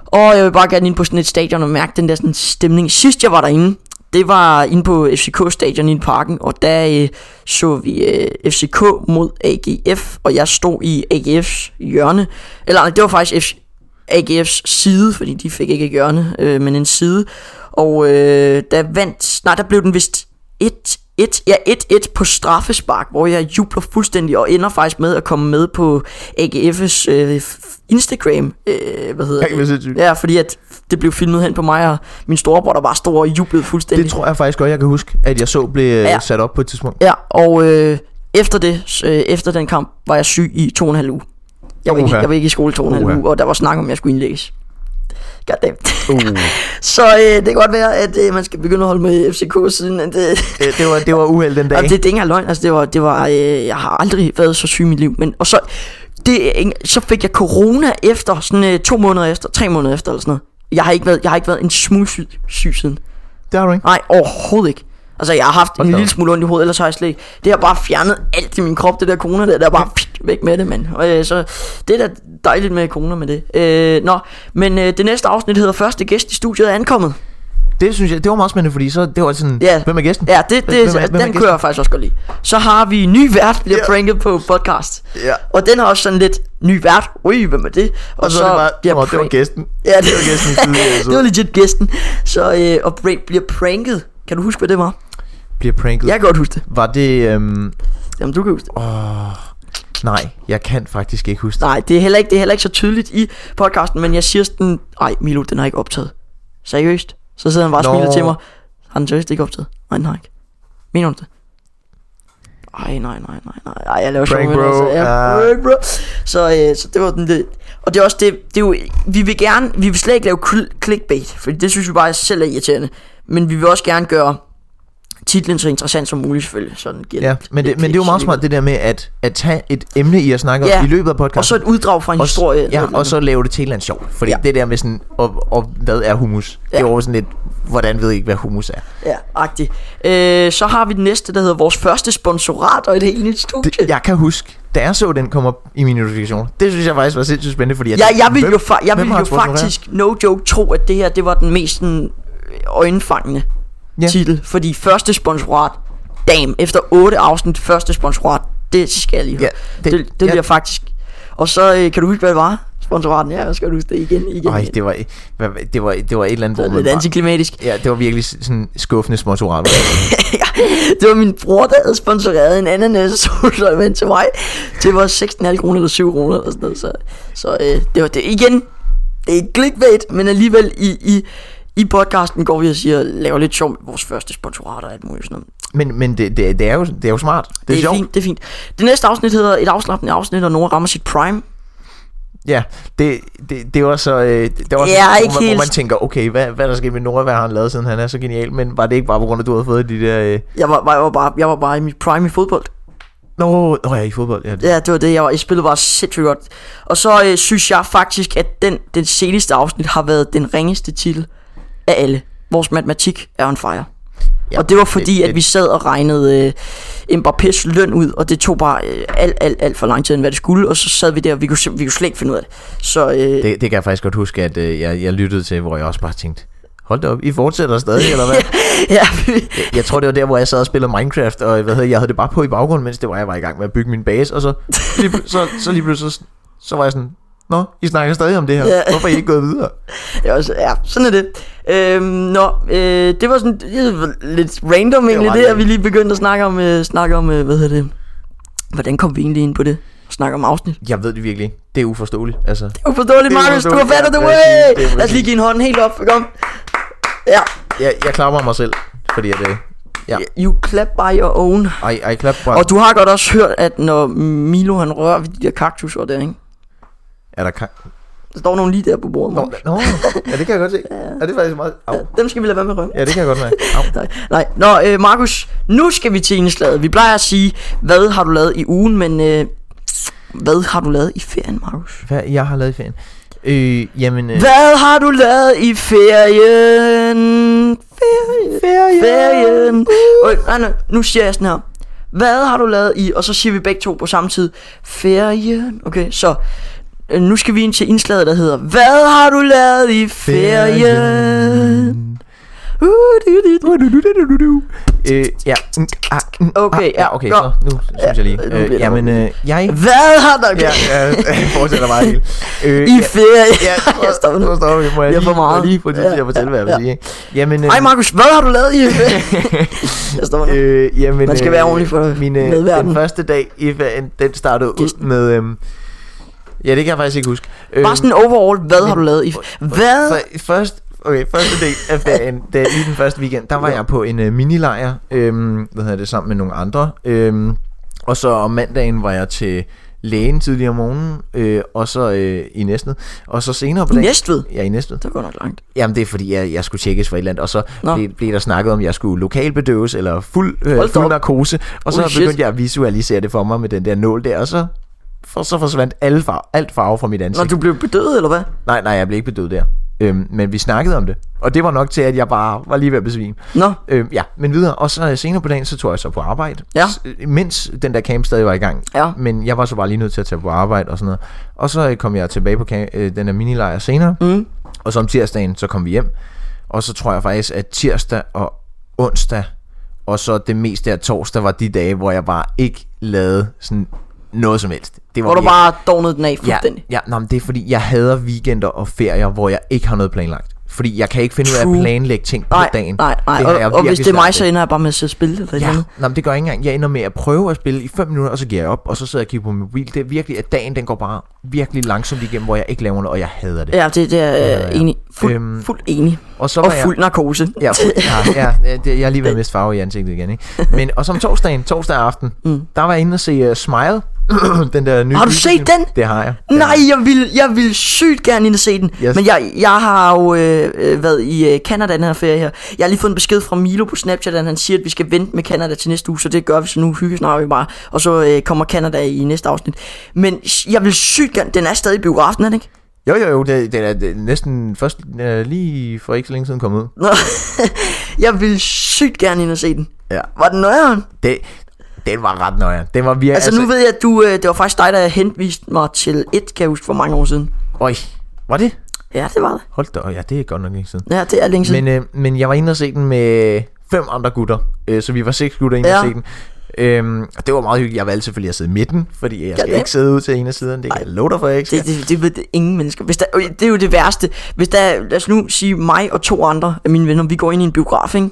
Og jeg vil bare gerne ind på sådan et stadion og mærke den der sådan stemning. Sidst jeg var derinde, det var inde på FCK-stadion inde i parken, og der øh, så vi øh, FCK mod AGF, og jeg stod i AGF's hjørne. Eller nej, det var faktisk F- AGF's side, fordi de fik ikke et hjørne, øh, men en side. Og øh, der vandt, nej der blev den vist 1 1, ja 1-1 på straffespark, hvor jeg jubler fuldstændig og ender faktisk med at komme med på AGF's øh, f- Instagram, øh, hvad hedder Ej, hvor sindssygt. Ja, fordi at det blev filmet hen på mig, og min storebror der var stor og jublede fuldstændig. Det tror jeg faktisk godt, jeg kan huske, at jeg så blev Ja. ja. sat op på et tidspunkt. Ja, og øh, efter, det, øh, efter den kamp var jeg syg i to og en halv uge. Jeg var, ikke, Uha. jeg var ikke i skole to og en halv Uha. uge, og der var snak om, at jeg skulle indlægges. Goddamn. Uh. Så øh, det kan godt være, at øh, man skal begynde at holde med FCK siden. At, øh, Det, det, var, det var uheld den dag. og det, det er ikke engang løgn, altså det var, det var øh, jeg har aldrig været så syg i mit liv. Men, og så, det, er ikke- så fik jeg corona efter, sådan øh, to måneder efter, tre måneder efter eller sådan noget. Jeg har ikke været, jeg har ikke været en smule syg, syg siden. det har du ikke. Nej, overhovedet ikke. Altså, jeg har haft Hold en da op. lille smule ondt i hovedet, ellers har jeg slet ikke. Det har bare fjernet alt i min krop, det der corona der. Der er bare pik, væk med det, mand. Og, øh, så det er da dejligt med corona med det. Øh, nå, men øh, det næste afsnit hedder Første gæst i studiet er ankommet. Det synes jeg, det var meget spændende, fordi så, det var sådan, Ja. ja. hvem er gæsten? Ja, det, det, Hvem er- hvem er den gæsten? kører jeg faktisk også godt lide. Så har vi ny vært, bliver Ja. pranket på podcast. Ja. Og den har også sådan lidt ny vært. Ui, hvem er det? Og, Og så, er det bare, bliver ja, det var prank- gæsten. Ja, Det var gæsten i altså. det tidligere var episode. legit gæsten. Så, øh, og Brad bliver pranket. Kan du huske, hvad det var? Bliver pranket. Jeg kan godt huske det. Var det, øhm, Jamen, du kan huske det. nej, jeg kan faktisk ikke huske det. Nej, det er heller ikke, det er heller ikke så tydeligt i podcasten, men jeg siger sådan, nej Milo, den har ikke optaget. Seriøst? Så sidder han bare og Nå. smiler til mig. Har den seriøst ikke optaget? Nej, den har ikke. Mener du det? Ej, nej, nej, nej, nej. Ej, jeg laver sjov Prank med det, bro. altså. Ja, Ah. prank bro. Så, øh, så det var den lidt. Og det er også det, det er jo, vi vil gerne, vi vil slet ikke lave cl- clickbait, for det synes vi bare selv er irriterende. Men vi vil også gerne gøre titlen så interessant som muligt, selvfølgelig. Sådan giver Ja, lidt- men det, lidt men det er jo kliks meget alligevel. smart det der med at, at tage et emne, I har snakket Ja. om i løbet af podcasten. Og så et uddrag fra en og, s- historie. ja, og så lave det til en eller anden sjov. Fordi Ja. ja. det der med sådan, og, og hvad er humus? Ja. Det er jo sådan lidt, hvordan ved I ikke, hvad humus er? Ja, agtig. Øh, så har vi den næste, der hedder vores første sponsorat og et helt nyt studie. Det, jeg kan huske, da jeg så den komme op i mine notifikationer, det synes jeg faktisk var sindssygt spændende, fordi jeg, jeg, jeg tænkte, ville hvem- jo, fa- jeg hvem ville har jo sponsoreret? faktisk, no joke, tro, at det her det var den mest sådan, øh, øjenfangende ja. Ja. titel. Fordi første sponsorat, damn, efter otte afsnit, første sponsorat, det skal jeg lige høre. Ja, Ja, det, det- det, det ja. bliver faktisk... Og så øh, kan du huske, hvad det var? Sponsoraten, ja, skal du huske det igen, igen. Ej, igen. det var, hvad- hvad- det var, det var et eller andet, det var hvor man lidt bare- antiklimatisk. Ja, det var virkelig sådan skuffende sponsorat. Det var min bror, der havde sponsoreret en ananas solsolvand til mig. Det var 16,5 kroner eller 7 kroner eller sådan noget. Så, så øh, det var det igen. Det er ikke clickbait, men alligevel i, i, i podcasten går vi og siger, laver lidt sjov med vores første sponsorat og alt muligt sådan noget. Men, men det, det, det, er jo, det er jo smart. Det er, Det er, det er sjovt. fint, det er fint. Det næste afsnit hedder et afslappende afsnit, og Nora rammer sit prime. Ja, det, det, det var så... Øh, det var Ja, sådan, hvor, ikke man, helt- hvor man tænker, okay, hvad, hvad er der sket med Nora? Hvad har han lavet, siden han er så genial? Men var det ikke bare på grund af, at du havde fået de der... Øh... Jeg var, var, jeg var, bare, jeg var bare i mit prime i fodbold. Nå, nå ja, i fodbold. Ja, det. Ja, det var det, jeg var. Jeg spillede bare sindssygt godt. Og så øh, synes jeg faktisk, at den, den seneste afsnit har været den ringeste titel af alle. Vores matematik er on fire. Ja, Ja, og det var fordi, det- at det- vi sad og regnede øh, Mbappés løn ud, og det tog bare øh, alt, alt, alt for lang tid, end hvad det skulle. Og så sad vi der, og vi kunne, sim- vi kunne slet ikke finde ud af det. Så øh, det, Det, det kan jeg faktisk godt huske, at øh, jeg, jeg lyttede til, hvor jeg også bare tænkte, hold da op, I fortsætter stadig, eller hvad? ja, vi, Jeg- Jeg tror, det var der, hvor jeg sad og spillede Minecraft, og hvad hedder, jeg havde det bare på i baggrunden, mens det var, jeg var i gang med at bygge min base, og så lige, pl- så, så lige pludselig, så, så var jeg sådan, Nå, I snakker stadig om det her. Ja. Hvorfor er I ikke gået videre? det var, så- ja, sådan er det. Øhm, nå, øh, det var sådan det var lidt random egentlig, ret det, at random. vi lige begyndte at snakke om, øh, snakke om øh, hvad hedder det, hvordan kom vi egentlig ind på det? Snakke om afsnit. Jeg ved det virkelig ikke. Det er uforståeligt. Altså, Uforståeligt, Det er Markus. Du har uforståeligt. fattet det, Ja, way! det er præcis. Lad os lige give en hånd helt op. Kom. Ja. jeg, jeg klapper mig selv, fordi at, øh, ja. You clap by your own. I, I clap bare. Og du har godt også hørt, at når Milo han rører ved de der kaktuser der, ikke? Er der ka- Der står nogen lige der på bordet. Nå, Markus. nå, ja, det kan jeg godt se. Ja, det er faktisk meget... Au. Dem skal vi lade være med at røre. Ja, det kan jeg godt mærke. Au. Nej, nej. Nå, øh, Markus, nu skal vi til indslaget. Vi plejer at sige, hvad har du lavet i ugen, men øh, hvad har du lavet i ferien, Markus? Hvad jeg har lavet i ferien? Øh, jamen... Øh, Hvad har du lavet i ferien? Ferie. Ferie. Ferien. Uh. Okay, nej, nej, nu siger jeg sådan her. Hvad har du lavet i? Og så siger vi begge to på samme tid. Ferien. Okay, så øh, nu skal vi ind til indslaget, der hedder Hvad har du lavet i ferien? Øh, ja. Mm, ah, mm, Okay, ah, ja, ja. Okay, nå. så nu synes jeg lige. Ja, nu bliver Øh, det jamen, øh, jeg... Hvad har der Ja, gjort? ja, jeg fortsætter bare helt. Øh, I ferie. Ja, jeg stopper nu. nu stopper vi. Må jeg Vi har lige, for meget. må jeg lige få det til at fortælle, hvad jeg vil Ja, sige. ikke? Jamen, øh, Ej Markus, hvad har du lavet i ferie? jeg stopper nu. øh, jamen, Man skal øh, være ordentlig for min, øh, medverden. Den første dag i ferien, den startede ud Gæsten. med... Øh, ja, det kan jeg faktisk ikke huske. Øh, Bare sådan overall, hvad har du lavet i Hvad? Så først, okay, første del af ferien, da, i den første weekend, der var jeg på en øh, minilejr, øhm, hvad hedder det, sammen med nogle andre. Øhm, og så om mandagen var jeg til lægen tidligere om morgenen, øh, og så øh, i Næstved. Og så senere på I dagen... Næstved? Ja, i Næstved. Det går nok langt. Jamen det er fordi jeg, jeg skulle tjekkes for et eller andet Og så Nå. blev, blev der snakket om at jeg skulle lokalbedøves Eller fuld, øh, Hold da fuld op. narkose Og så Holy shit. begyndte jeg at visualisere det for mig Med den der nål der Og så, for, så forsvandt alle farve, alt farve fra mit ansigt Når du blev bedøvet, eller hvad? Nej, nej, jeg blev ikke bedøvet der. Øhm, men vi snakkede om det. Og det var nok til, at jeg bare var lige ved at besvime. Nå, Øhm, ja, men videre. Og så øh, senere på dagen, så tog jeg så på arbejde. Ja. S- øh, mens den der camp stadig var i gang. Ja. Men jeg var så bare lige nødt til at tage på arbejde og sådan noget. Og så øh, kom jeg tilbage på cam- øh, den her minilejr senere. Mm. Og så om tirsdagen, så kom vi hjem. Og så tror jeg faktisk, at tirsdag og onsdag, og så det meste af torsdag, var de dage, hvor jeg bare ikke lavede sådan noget som helst. Det var hvor du virkelig- bare dognede den af Ja, fuldstændig. ja nå, men det er fordi, jeg hader weekender og ferier, hvor jeg ikke har noget planlagt. Fordi jeg kan ikke finde ud af True. at planlægge ting på Nej, dagen. nej, nej. Det har jeg Og, og hvis virkelig det er mig, svært så ved. ender jeg bare med at sidde og spille eller ja. Ja, andet. nå, men det gør jeg ikke engang. Jeg ender med at prøve at spille i 5 minutter, og så giver jeg op, og så sidder jeg og kigger på min mobil. Det er virkelig, at dagen den går bare virkelig langsomt igennem, hvor jeg ikke laver noget, og jeg hader det. Ja, det, det er jeg ja. enig. Fuld, Øhm, fuld enig. Og så Og var jeg... fuld narkose. Ja, fuld- ja, ja det, jeg har lige været mest farve i ansigtet igen, ikke? Men, og som torsdagen, torsdag aften, mm. der var jeg inde og se uh, Smile, den der nye Har du set gyserfilm. den? Det har jeg. Den Nej, jeg vil, jeg vil sygt gerne ind og se den. Yes. Men jeg, jeg har jo øh, øh, været i øh, Canada den her ferie her. Jeg har lige fået en besked fra Milo på Snapchat, at han siger, at vi skal vente med Canada til næste uge, så det gør vi, så nu hyggesnakker vi bare. Og så øh, kommer Canada i næste afsnit. Men s- jeg vil sygt gerne, den er stadig i biografen, er den ikke? Jo, jo, jo, det, det er det er næsten først øh, lige for ikke så længe siden kommet ud. Nå, jeg vil sygt gerne ind og se den. Ja. Var den nøjeren? Det, den var ret nøjeren. Den var virkelig... Altså, altså nu ved jeg, at du, øh, det var faktisk dig, der henviste mig til et, kan jeg huske, for mange år siden. Øj, altså, var det? Ja, det var det. Hold da, ja, det er godt nok ikke siden. Ja, det er længe siden. Men, øh, men jeg var inde og se den med fem andre gutter. Øh, så vi var seks gutter inde ja. Ja. og se den. Øhm, og det var meget hyggeligt. Jeg valgte selvfølgelig at sidde i midten, fordi jeg skal det. ikke sidde ud til en af siderne. Det kan jeg love dig for, jeg ikke skal. Det, det, det ved det ingen mennesker. Hvis der, øh, det er jo det værste. Hvis der, lad os nu sige mig og to andre af mine venner, vi går ind i en biograf, ikke?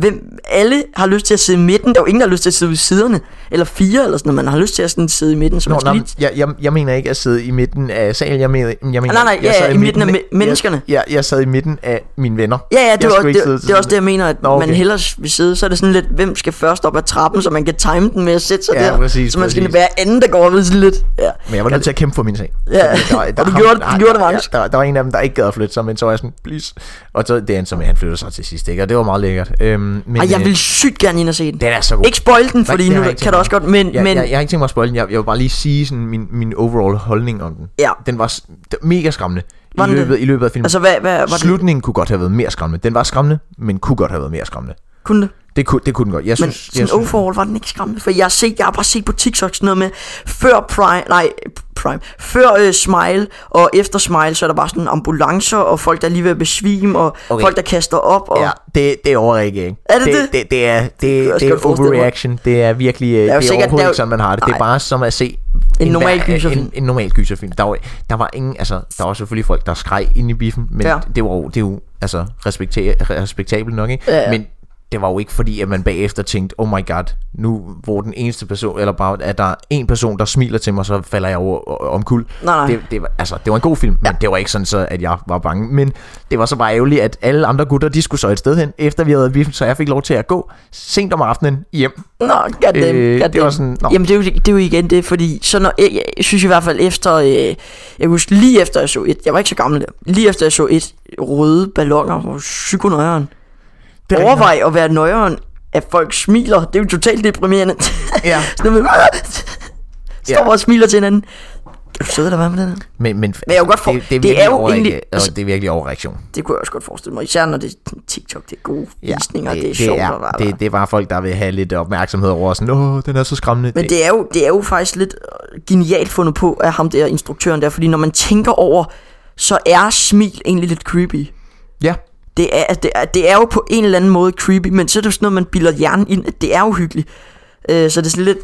Hvem, alle har lyst til at sidde i midten. Der er jo ingen, der har lyst til at sidde ved siderne. Eller fire, eller sådan noget. Man har lyst til at sådan sidde i midten, så Nå, man skal nej, lige... men jeg, jeg, jeg mener ikke at sidde i midten af salen. Jeg mener, jeg mener, Ah, nej, jeg ja, sad ja, i midten af me- menneskerne. Ja, jeg, jeg sad i midten af mine venner. Ja, ja, Jeg det, var, skulle ikke det, sidde det, til er også siden det, jeg mener, at Nå, Nå, okay. okay. man hellere vil sidde. Så er det sådan lidt, hvem skal først op ad trappen, så man kan time den med at sætte sig Ja, der. præcis, så man skal præcis. være anden, der går ved sådan lidt. Ja. Men jeg var nødt til at kæmpe for min sag. Ja, Fordi og du ham- gjorde det- du nej, gjorde det, der- Markus. Der, der, var en af dem, der ikke gad at flytte sig, men så var jeg sådan, please. Og så det endte så med, at han flyttede sig til sidst, ikke? Og det var meget lækkert. Øhm, men, Ej, jeg øh, vil sygt gerne ind og se den. Den er så god. Ikke spoil den, fordi det har nu jeg ikke kan tænkt du også godt, men... jeg, men jeg, jeg, har ikke tænkt mig at spoil den. Jeg, jeg vil bare lige sige sådan min, min overall holdning om den. Ja. Den var, s- den var mega skræmmende. Var I den det? løbet, I løbet af filmen. altså, hvad, hvad var det? Slutningen kunne godt have været mere skræmmende. Den var skræmmende, men kunne godt have været mere skræmmende. Kun det? Det kunne, det kunne den godt. Jeg Men synes, jeg sådan synes, overall var den ikke skræmmende For jeg har, set, jeg har bare set på TikTok sådan noget med Før Prime, nej Prime Før øh, Smile og efter Smile Så er der bare sådan ambulancer Og folk der er lige ved at besvime Og Okay. okay. folk der kaster op og, Ja, det, det er overreagering. Er det det? det? Det, det er, det, jeg det, også det er godt forestille mig. overreaction. Det er virkelig, øh, det er jo sikkert- overhovedet der er jo- ikke sådan, man har det. Det er Nej. bare som at se En normal hver- gyserfilm. En, en normal gyserfilm. Der var, der var ingen, altså, der var selvfølgelig folk, der skreg ind i biffen, men Ja. det var jo, det er jo altså, respekta- respektabelt nok, ikke? Ja, ja. Men det var jo ikke fordi, at man bagefter tænkte, oh my god, nu hvor den eneste person, eller bare, at der er en person, der smiler til mig, så falder jeg over o- omkuld. Nej, nej. Det, det, var, altså, det var en god film, men det var ikke sådan så, at jeg var bange. Men det var så bare ærgerligt, at alle andre gutter, de skulle så et sted hen, efter vi havde været i biffen, så jeg fik lov til at gå sent om aftenen hjem. Nå, goddamn, Øh, øh, det goddamn. var sådan- nå. Jamen det er, jo, det er jo igen det, fordi så når, jeg, jeg synes i hvert fald efter, øh, jeg kan huske lige efter jeg så et, jeg var ikke så gammel der, lige efter jeg så et, røde ballonger, hvor psykonøjeren. Det er rigtigt Overvej at være nøjeren, at folk smiler, det er jo totalt deprimerende. Ja. Sådan noget med, står Ja. og smiler til hinanden. Kan du sidde der være med den her? Men, men, jeg kan godt for- det, det, er, det virkelig er jo overreage- egentlig- altså, det er virkelig overreaktion. Det kunne jeg også godt forestille mig, især når det er TikTok, det er gode visninger, det, det er det, sjovt. er, og hvad- det, det er bare folk, der vil have lidt opmærksomhed over sådan, åh, den er så skræmmende. Men det er, jo, det er jo faktisk lidt øh, genialt fundet på af ham der, instruktøren der, fordi når man tænker over, så er smil egentlig lidt creepy. Ja, Det er, det, er, det er jo på en eller anden måde creepy, men så er det jo sådan noget, man bilder hjernen ind, at det er uhyggeligt. Øh, så det er sådan lidt,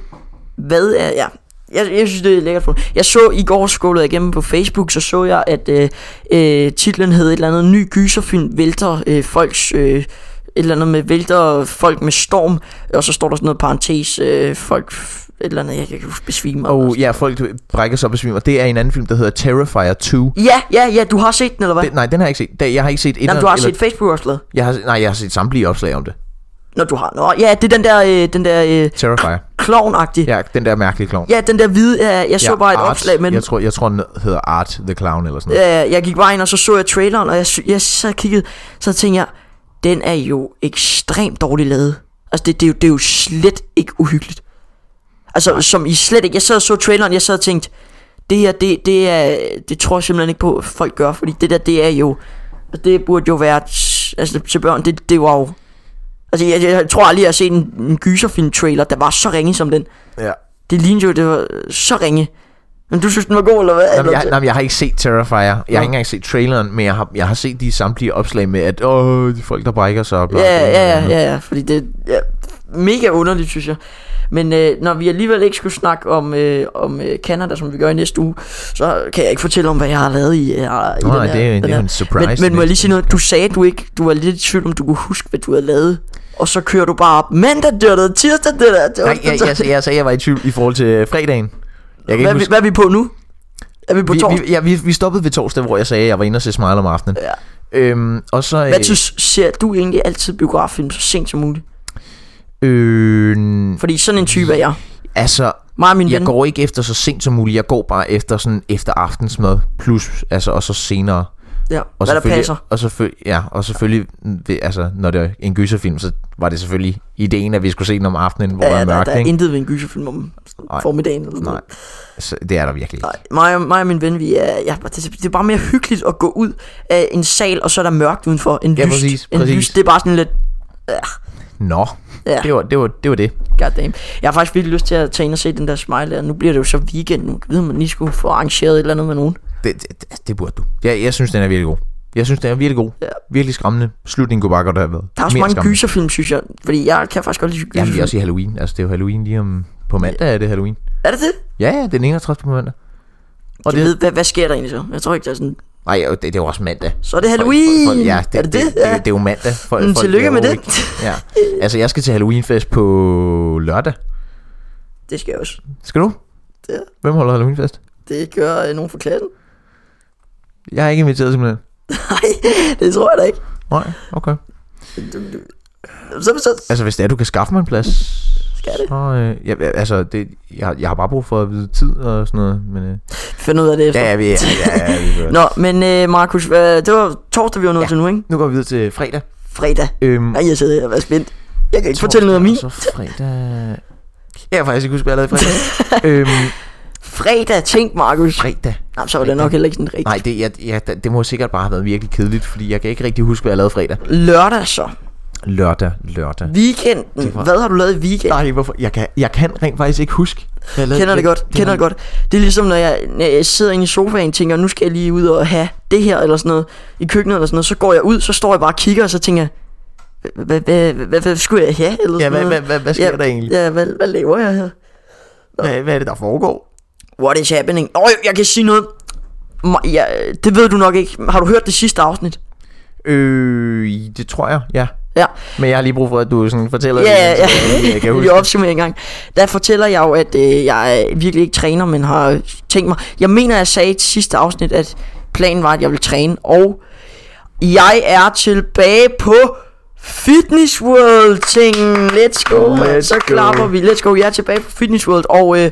hvad er, ja, jeg, jeg synes, det er lækkert fundet. Jeg så i går skålet igennem på Facebook, så så jeg, at øh, øh, titlen hed et eller andet ny gyserfilm, vælter øh, folks... Øh, et eller andet med vælter folk med storm, og så står der sådan noget parentes, øh, folk, f- et eller andet, jeg kan ikke huske, besvimer. Og ja, folk brækker sig op og besvimer. Det er en anden film, der hedder Terrifier 2. Ja, ja, ja, du har set den, eller hvad? Det, nej, den har jeg ikke set. Det- Jeg har ikke set et Jamen, du har set Facebook-opslaget. jeg har, nej, jeg har set samtlige opslag om det. Nå, du har. Nå, ja, det er den der, øh, den der øh, Terrifier. klovnagtige. Ja. Ja, den der mærkelige klovn. ja, den der hvide, øh, jeg så ja, bare et Art. opslag, men Jeg tror, jeg tror, den hedder Art the Clown eller sådan noget. øh, jeg gik bare ind, og så så jeg traileren, og jeg, sy- jeg så kiggede, så tænkte jeg, den er jo ekstremt dårligt lavet. Altså, det, det, er, jo, det er jo slet ikke uhyggeligt. Altså, Nej. som I slet ikke... Jeg sad og så traileren, jeg sad og tænkte, det her, det, det er... Det tror jeg simpelthen ikke på, at folk gør, fordi det der, det er jo... altså, Det burde jo være... t- Altså, til børn, det, det var jo... Altså, jeg, jeg, jeg tror aldrig, jeg har set en, en gyserfilm-trailer, der var så ringe som den. Ja. Det lignede jo, det var så ringe. Men du synes, den var god, eller hvad? Jamen, Eller- jeg, nej, men jeg har ikke set Terrifier. Jeg har ikke engang set traileren, men jeg har, jeg har set de samtlige opslag med, at åh, de folk, der brækker sig op. Ja, ja, ja, ja, ja, fordi det er ja, mega underligt, synes jeg. Men øh, når vi alligevel ikke skulle snakke om, øh, om øh, Canada, som vi gør i næste uge, så kan jeg ikke fortælle om, hvad jeg har lavet i, øh, i den nej, her, det er jo en- den det er jo her. en surprise Men, men må jeg lige næste sige noget? Du sagde, du ikke, du var lidt i tvivl, om du kunne huske, hvad du havde lavet. Og så kører du bare op mandag, det der, tirsdag, det der, det Nej, jeg, jeg, jeg, jeg sagde, jeg var i tvivl i forhold til øh, fredagen. hvad, Jeg kan ikke er vi, huske. hvad er vi på nu? Er vi på Vi, torsdag? vi, ja, vi, vi stoppede ved torsdag, hvor jeg sagde, at jeg var inde og se Smile om aftenen. Ja. Øhm, og så... Hvad synes, ser du egentlig altid biograffilm så sent som muligt? øh, Fordi sådan en type er jeg. altså, Mig og min jeg ven. går ikke efter så sent som muligt. Jeg går bare efter sådan efter aftensmad, plus, altså, og så senere. ja, Og hvad der selvfølgelig- passer. Og selvfølgelig, ja, og selvfølgelig det, altså, når det er en gyserfilm, så var det selvfølgelig ideen, at vi skulle se den om aftenen, hvor ja, der er mørkt, der, der er ikke? intet ved en gyserfilm om Nej. formiddagen. Eller sådan Nej, noget. så, det er der virkelig ikke. Nej, mig, og, mig og min ven, vi er, ja, det, det er bare mere hyggeligt at gå ud af en sal, og så er der mørkt udenfor. En Ja, lyst, præcis, en præcis. lyst, det er bare sådan lidt, ja, Nå, Ja. ja. det, var, det, var, det var det. goddamn. Jeg har faktisk virkelig lyst til at tage ind og se den der smile der. Nu bliver det jo så weekend nu. Jeg ved, om man lige skulle få arrangeret et eller andet med nogen. Det, det, det burde du. Jeg, jeg synes, den er virkelig god. Jeg synes, den er virkelig god. Ja. Virkelig skræmmende. Slutningen kunne bare godt have været Der er også mere mange skræmmende. gyserfilm, synes jeg. Fordi jeg kan faktisk godt lide Jamen, gyserfilm. vi er også i Halloween. Altså, det er jo Halloween lige om... På mandag er det Halloween. Er det det? Ja, ja, det er den 31. på mandag. Og Og det... det, Ved, hvad, hvad sker der egentlig så? Jeg tror ikke, der er sådan... nej, jo, det, det er jo også mandag. Så er det Folk- Halloween! Folk, folk, ja, det, er det det? Det, det, ja. det, er jo mandag. Folk, Mm, folk tillykke med laver jo det. ikke- Ja. Altså, jeg skal til Halloweenfest på lørdag. det skal jeg også. Skal du? Det, Hvem holder Halloweenfest? det gør øh, nogen fra klassen. Jeg er ikke inviteret simpelthen. Nej, det tror jeg da ikke. Nej, okay. Så, så, Altså, hvis det er, du kan skaffe mig en plads, Skal det? så... Øh, ja, altså, det, jeg, jeg har bare brug for at vide tid og sådan noget, men... Øh, Find ud af det efter. ja, ja, vi, ja, ja, vi gør det. Nå, men øh, Markus, hvad, det var torsdag, vi var nået ja. Ja. til nu, ikke? Nu går vi videre til fredag. Fredag. Øhm, Ej, jeg sidder her og er spændt. Jeg kan ikke fortælle noget om min. torsdag, altså. og Så fredag... Jeg kan faktisk ikke huske, hvad jeg lavede i fredag. øhm, Fredag, tænk Markus. fredag. Nå, så var det nok heller ikke sådan rigtigt. Nej, det, jeg, jeg, det må sikkert bare have været virkelig kedeligt, fordi jeg kan ikke rigtig huske, hvad jeg lavede fredag. Lørdag så. Lørdag, lørdag. Weekenden. Det var- Hvad har du lavet i weekenden? Nej, hvorfor? Jeg kan, jeg kan rent faktisk ikke huske. Hvad jeg lavede. Kender det godt, kender det godt. Det er ligesom, når jeg, når jeg sidder inde i sofaen og tænker, nu skal jeg lige ud og have det her, eller sådan noget, i køkkenet eller sådan noget. Så går jeg ud, så står jeg bare og kigger, og så tænker jeg, "Hvad- hvad- hvad hvad- hvad skulle jeg have? Eller Ja, sådan hvad, noget. hvad, hvad, hvad sker ja, der egentlig? Ja, hvad, hvad laver jeg her? Hvad, hvad er det, der foregår? What is happening? Åh, oh, jeg kan sige noget. Ma- Ja, det ved du nok ikke. Har du hørt det sidste afsnit? Øh, det tror jeg, ja. Ja, Men jeg har lige brug for, at du sådan fortæller ja, det. ja. ja. Jeg kan huske. Lige opsummere en gang. Der fortæller jeg jo, at øh, jeg virkelig ikke træner, men har tænkt mig... Jeg mener, jeg sagde i det sidste afsnit, at planen var, at jeg ville træne, og jeg er tilbage på Fitness World tingen. Let's go, man. Let's Så go. klapper vi. Let's go. Jeg er tilbage på Fitness World, og øh,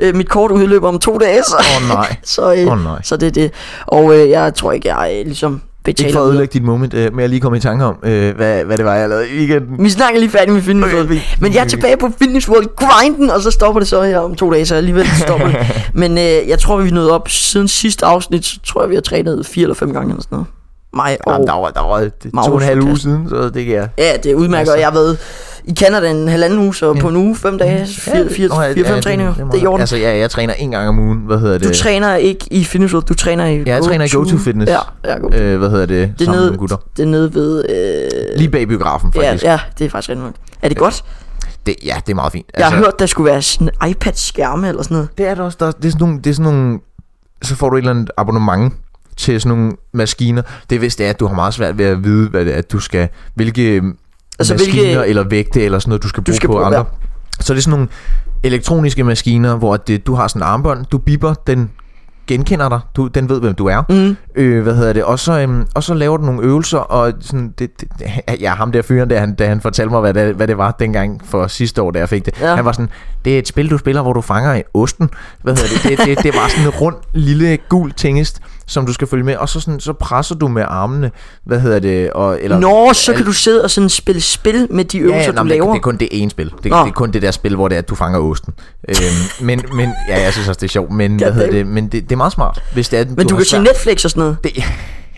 øh, mit kort udløber om to dage, så... Åh oh, nej. Så, øh, Åh, nej. så det er det. Og øh, jeg tror ikke, jeg øh, ligesom Ikke for at betaler videre. ødelægge dit moment, øh, men jeg lige kom i tanke om, øh, hvad, hvad det var, jeg lavede i weekenden. Vi snakker lige færdig med Fitness Okay, World. fint. Men jeg er tilbage på Fitness World grinden, og så stopper det så her om to dage, så alligevel stopper det. Men øh, jeg tror, vi er nået op siden sidste afsnit, så tror jeg, vi har trænet fire eller fem gange eller sådan noget. Mig og... Jamen, der var, der var det, to og en Magnus halv uge Klassen. siden, så det kan jeg. Ja, det udmærker, altså. Altså. jeg har været i Canada en halvanden uge, så på en uge, fem dage, Ja, fire, det- fire, Nå, ja, fire, ja, fem træninger. må- Det er i orden. Altså, ja, jeg træner en gang om ugen. Hvad hedder det? Du træner ikke i Fitness World, du træner i Ja, jeg træner i GoTo Fitness. Ja, ja, go. øh, hvad hedder det? Det er Sammen med nede, nogle gutter. det er nede ved... Øh, Lige bag biografen, ja, faktisk. Ja, ja, det er faktisk rigtig nok. Er det godt? Det, ja, det er meget fint. Altså, Jeg har hørt, der skulle være sådan iPad-skærme eller sådan noget. Det er der også. Der, er- det, er sådan nogle, det er sådan nogle... Så får du et eller andet abonnement til sådan nogle maskiner. Det er hvis det er, at du har meget svært ved at vide, hvad det er, at du skal... Hvilke Altså, altså, maskiner hvilke- hvilke, eller vægte eller sådan noget, du skal bruge skal skal på bruge, bruge, andre. Så det er sådan nogle elektroniske maskiner, hvor det, du har sådan en armbånd, du bipper, den genkender dig, du, den ved, hvem du er. Mm. Øh, hvad hedder det? Og så, øhm, og så laver du nogle øvelser, og sådan, det, det, ja, ham der fyren, der, han, da han fortalte mig, hvad det, hvad det var dengang for sidste år, da jeg fik det. Ja. Ja. Han var sådan, det er et spil, du spiller, hvor du fanger en osten. Hvad hedder det? Det, det, det var sådan en rund, lille, gul tingest, som du skal følge med. Og så, sådan, så presser du med armene, hvad hedder det? Og, eller, Nå, så kan du sidde og sådan spille spil med de øvelser, nå, du men det- laver. Det er kun det ene spil. Det, det Nå. er kun det der spil, hvor det er, at du fanger osten. Øhm, men, men, ja, jeg synes også, det er sjovt, men, hvad Goddamn. hedder det, men det, det er meget smart, hvis det er, at men du har kan se svært- Netflix og sådan noget. det,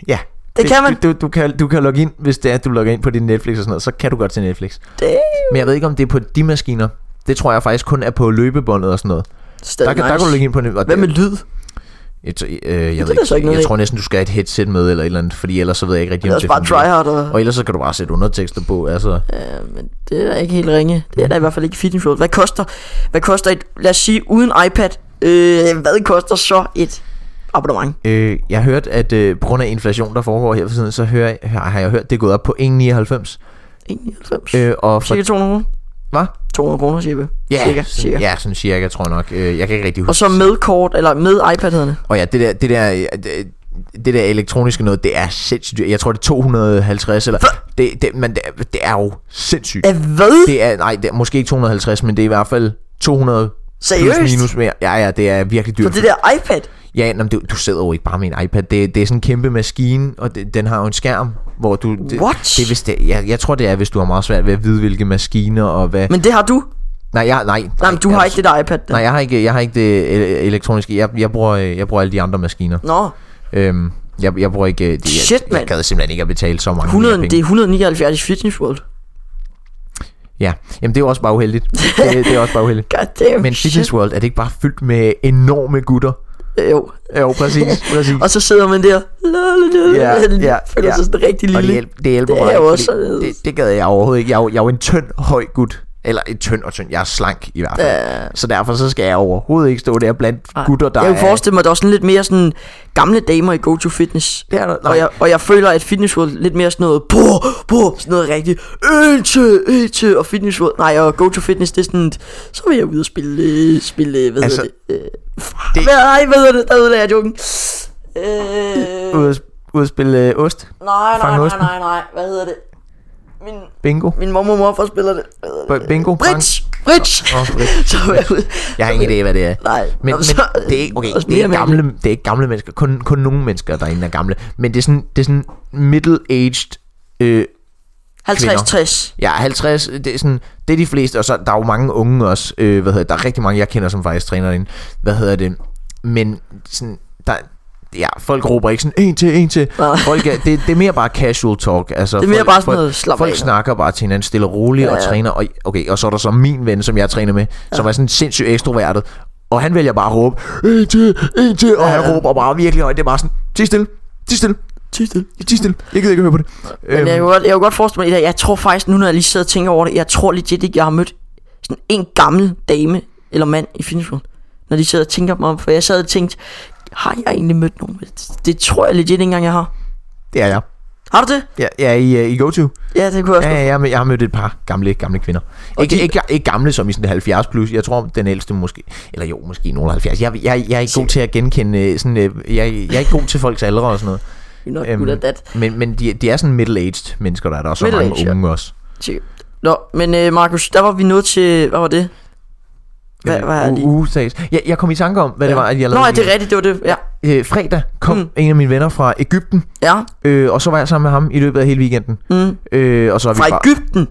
ja. Det kan man. Du, du, kan, du kan logge ind, hvis det er, at du logger ind på din Netflix og sådan noget, så kan du godt til Netflix. Det er Men jeg ved ikke, om det er på de maskiner. Det tror jeg faktisk kun er på løbebåndet og sådan noget. stadig Der, nice. nice. der kan du logge ind på Netflix. Hvad med lyd? Jeg, t- øh, jeg, er ved der så ikke ikke, noget jeg i. tror næsten, du skal have et headset med eller et eller andet, fordi ellers så ved jeg ikke rigtig, Det er om også det bare fungerer. tryhard og... Og ellers så kan du bare sætte undertekster på, altså... Ja, men det er da ikke helt ringe. Det er da i hvert fald ikke fitness road. Hvad koster, hvad koster et, lad os sige, uden iPad, øh, hvad koster så et abonnement? Øh, jeg hørte, at øh, på grund af inflation, der foregår her for tiden, så hører, jeg- har jeg hørt, det er gået op på 1,99. 91. Øh, Øh, og for, cirka 200 kroner. Hvad? 200 kroner, siger vi. ja, cirka, sådan, cirka. ja, sådan cirka, tror jeg nok. Øh, jeg kan ikke rigtig huske. Og så med kort, eller med iPad hedder det. Og ja, det der, det der, øh, det- det der elektroniske noget, det er sindssygt dyrt. Jeg tror, det er 250, eller... Det, det, men det, er- det er jo sindssygt. Af hvad? Det er, nej, det er måske ikke 250, men det er i hvert fald 200 Seriøst? plus minus mere. Ja, ja, det er virkelig For dyrt. det der iPad? Ja, nå, men du, du sidder jo ikke bare med en iPad. Det, det er sådan en kæmpe maskine, og det, den har jo en skærm, hvor du... Det, What? Det, er, hvis det, jeg, jeg tror, det er, hvis du har meget svært ved at vide, hvilke maskiner og hvad... Men, Men det har du? nej, jeg, nej, Nej, men du har ikke det der iPad. Der. Nej, jeg har ikke, jeg har ikke det ele- elektroniske. Jeg, jeg, bruger, øh, jeg bruger alle de andre maskiner. Nå, Øhm, jeg, jeg bruger ikke... øh, Det, Shit, jeg, jeg mand. gad simpelthen ikke at betale så mange 100, mere det er penge. 179 i fitness world. Ja, jamen det er jo også bare uheldigt. det, det er også bare uheldigt. God damn, Men Fitness World, er det ikke bare fyldt med enorme gutter? Shit. Jo. Jo, præcis, præcis. Og så sidder man der. La, la, la, Ja, la, ja, føler ja. sig sådan rigtig Og det, lille. hjælp, det hjælper Det er mig, jo fordi også således. det, det gad jeg overhovedet ikke. Jeg er, jo, jeg er jo en tynd, høj gut. Eller en tynd og tynd. Jeg er slank i hvert fald. Så derfor så skal jeg overhovedet ikke stå der blandt Nej. gutter, der Ah. jeg er... kunne forestille mig, at der var sådan lidt mere sådan gamle damer i Go To Fitness. Det er der- nej. og, jeg, og jeg føler, at Fitness World lidt mere sådan noget, på, på, sådan noget rigtigt, ønske, ønske, og Fitness World, nej, og Go To Fitness, det er sådan, et, så vil jeg ud og spille, øh, spille, øh, hvad altså, Altså, hedder det, øh, det... Hvad, nej, hvad hedder det, der udlagde jeg joken. Øh, Ude, at- ude at spille øh, ost. nej, nej, Fang nej, osten. nej, nej, hvad hedder det? Min, Bingo. min mormor og morfar spiller det. Hvad hedder det? B- Bingo. Brits, Brits. Fang- Åh, Brits. så var jeg ude. Jeg har ingen idé, hvad det er. Nej, Men, nå, men så- det er ikke, okay, også det er ikke mere gamle, det er ikke gamle mennesker. Kun, kun nogle mennesker, der er gamle. Men det er sådan, det er sådan middle-aged... Øh, 50, 60. Ja, 50, det er, sådan, det er de fleste, og så der er jo mange unge også, øh, hvad hedder, det, der er rigtig mange, jeg kender, som faktisk træner ind. Hvad hedder det? Men sådan, der, ja, folk råber ikke sådan, en til, en til. Nej. Folk er, det, det er mere bare casual talk. Altså, Det er mere folk, bare sådan folk, noget, slap Folk af. snakker bare til hinanden stille og roligt ja, Ja, og ja. træner. Og, okay, og så er der så min ven, som jeg træner med, ja. som er sådan sindssygt ekstrovertet. Og han vælger bare at råbe, en til, en til, og ja, han råber bare virkelig højt. Det er bare sådan, ti stille, ti stille, Tyst stille. ti stille. Jeg gider ikke at høre på det. Øhm, Men jeg, kunne godt, jeg kunne godt forestille mig det der. Jeg tror faktisk, nu når jeg lige sidder og tænker over det, jeg tror legit ikke, jeg har mødt sådan en gammel dame eller mand i Finnsrud. Når de sidder og tænker mig om, for jeg sad og tænkte, har jeg egentlig mødt nogen? Det, det tror jeg legit ikke engang, jeg har. det er jeg. Har du det? Ja, ja i, øh, i go-to. Ja, det kunne jeg også. Ja, ja, jeg, har mød- jeg har mødt et par gamle, gamle kvinder. Og Ikke, de- de... ikke, ikke gamle som i sådan 70 plus. Jeg tror, den ældste måske... Eller jo, måske nogen 70. Jeg, jeg, jeg er ikke god til at genkende... øh, Sådan, øh, jeg, jeg er ikke god til folks aldre og sådan noget. You're not øhm. good at that. men men de, de er sådan middle-aged mennesker, der er der. Og så mange Middle-aged, ja. unge også. Sikkert. Nå, men øh, Markus, der var vi nået til... Hvad var det? Hvad, hvad er det? U- usags. jeg, jeg kom i tanke om, hvad ja. uh, det var, at jeg Nå, lavede. ja, det er rigtigt, det var det. Ja. øh, fredag kom mm. en af mine venner fra Ægypten, ja. øh, og så var jeg sammen med ham i løbet af hele weekenden. Mm. Øh, og så er vi Fra bare- Ægypten.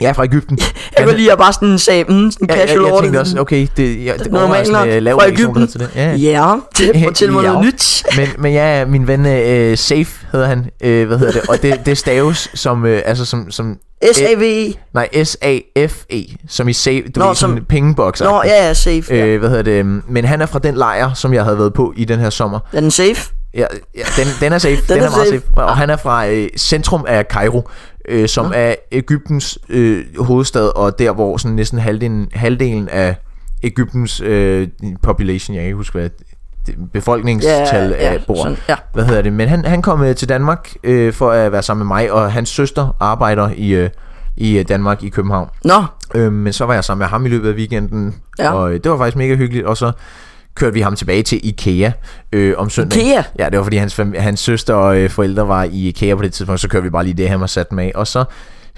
Ja, fra Ægypten. Jeg kunne lige at bare sådan sagde, mm, sådan ja, casual jeg, jeg over tænkte det. også, okay, det, jeg, det er Normalt nok. overraskende øh, lav Fra reaktion, der er Ægypten. til det. Ja, ja. Ja, det fortæl mig Ja. noget nyt. Men, men ja, min ven øh, Safe hedder han, øh, hvad hedder det, og det, det staves som, øh, altså som, som, S-A-V-E. nej, S-A-F-E, E, som i save, du Nå, Nå, ved, som, som- som pengebokser. Nå, ja, ja, safe. Ja. Øh, hvad hedder det, men han er fra den lejr, som jeg havde været på i den her sommer. Er den safe? Ja, ja den, den er safe. den, den er, er er meget safe. safe. Og han er fra øh, centrum af Kairo, øh, som er Ægyptens øh, hovedstad, og der hvor sådan næsten halvdelen, halvdelen af Ægyptens øh, population, jeg kan ikke huske hvad, det- befolkningstal ja, ja, bor. sådan, ja. Hvad hedder det? Men han, han kom øh, til Danmark øh, for at være sammen med mig, og hans søster arbejder i, øh, i øh, Danmark i København. Nå, Øh, men så var jeg sammen med ham i løbet af weekenden, Ja. ja. og øh, det var faktisk mega hyggeligt. Og så kørte vi ham tilbage til Ikea øh, om søndag. IKEA? Ja, det var fordi hans, fam- hans søster og øh, forældre var i Ikea på det tidspunkt, så kørte vi bare lige det, han var sat med. Og så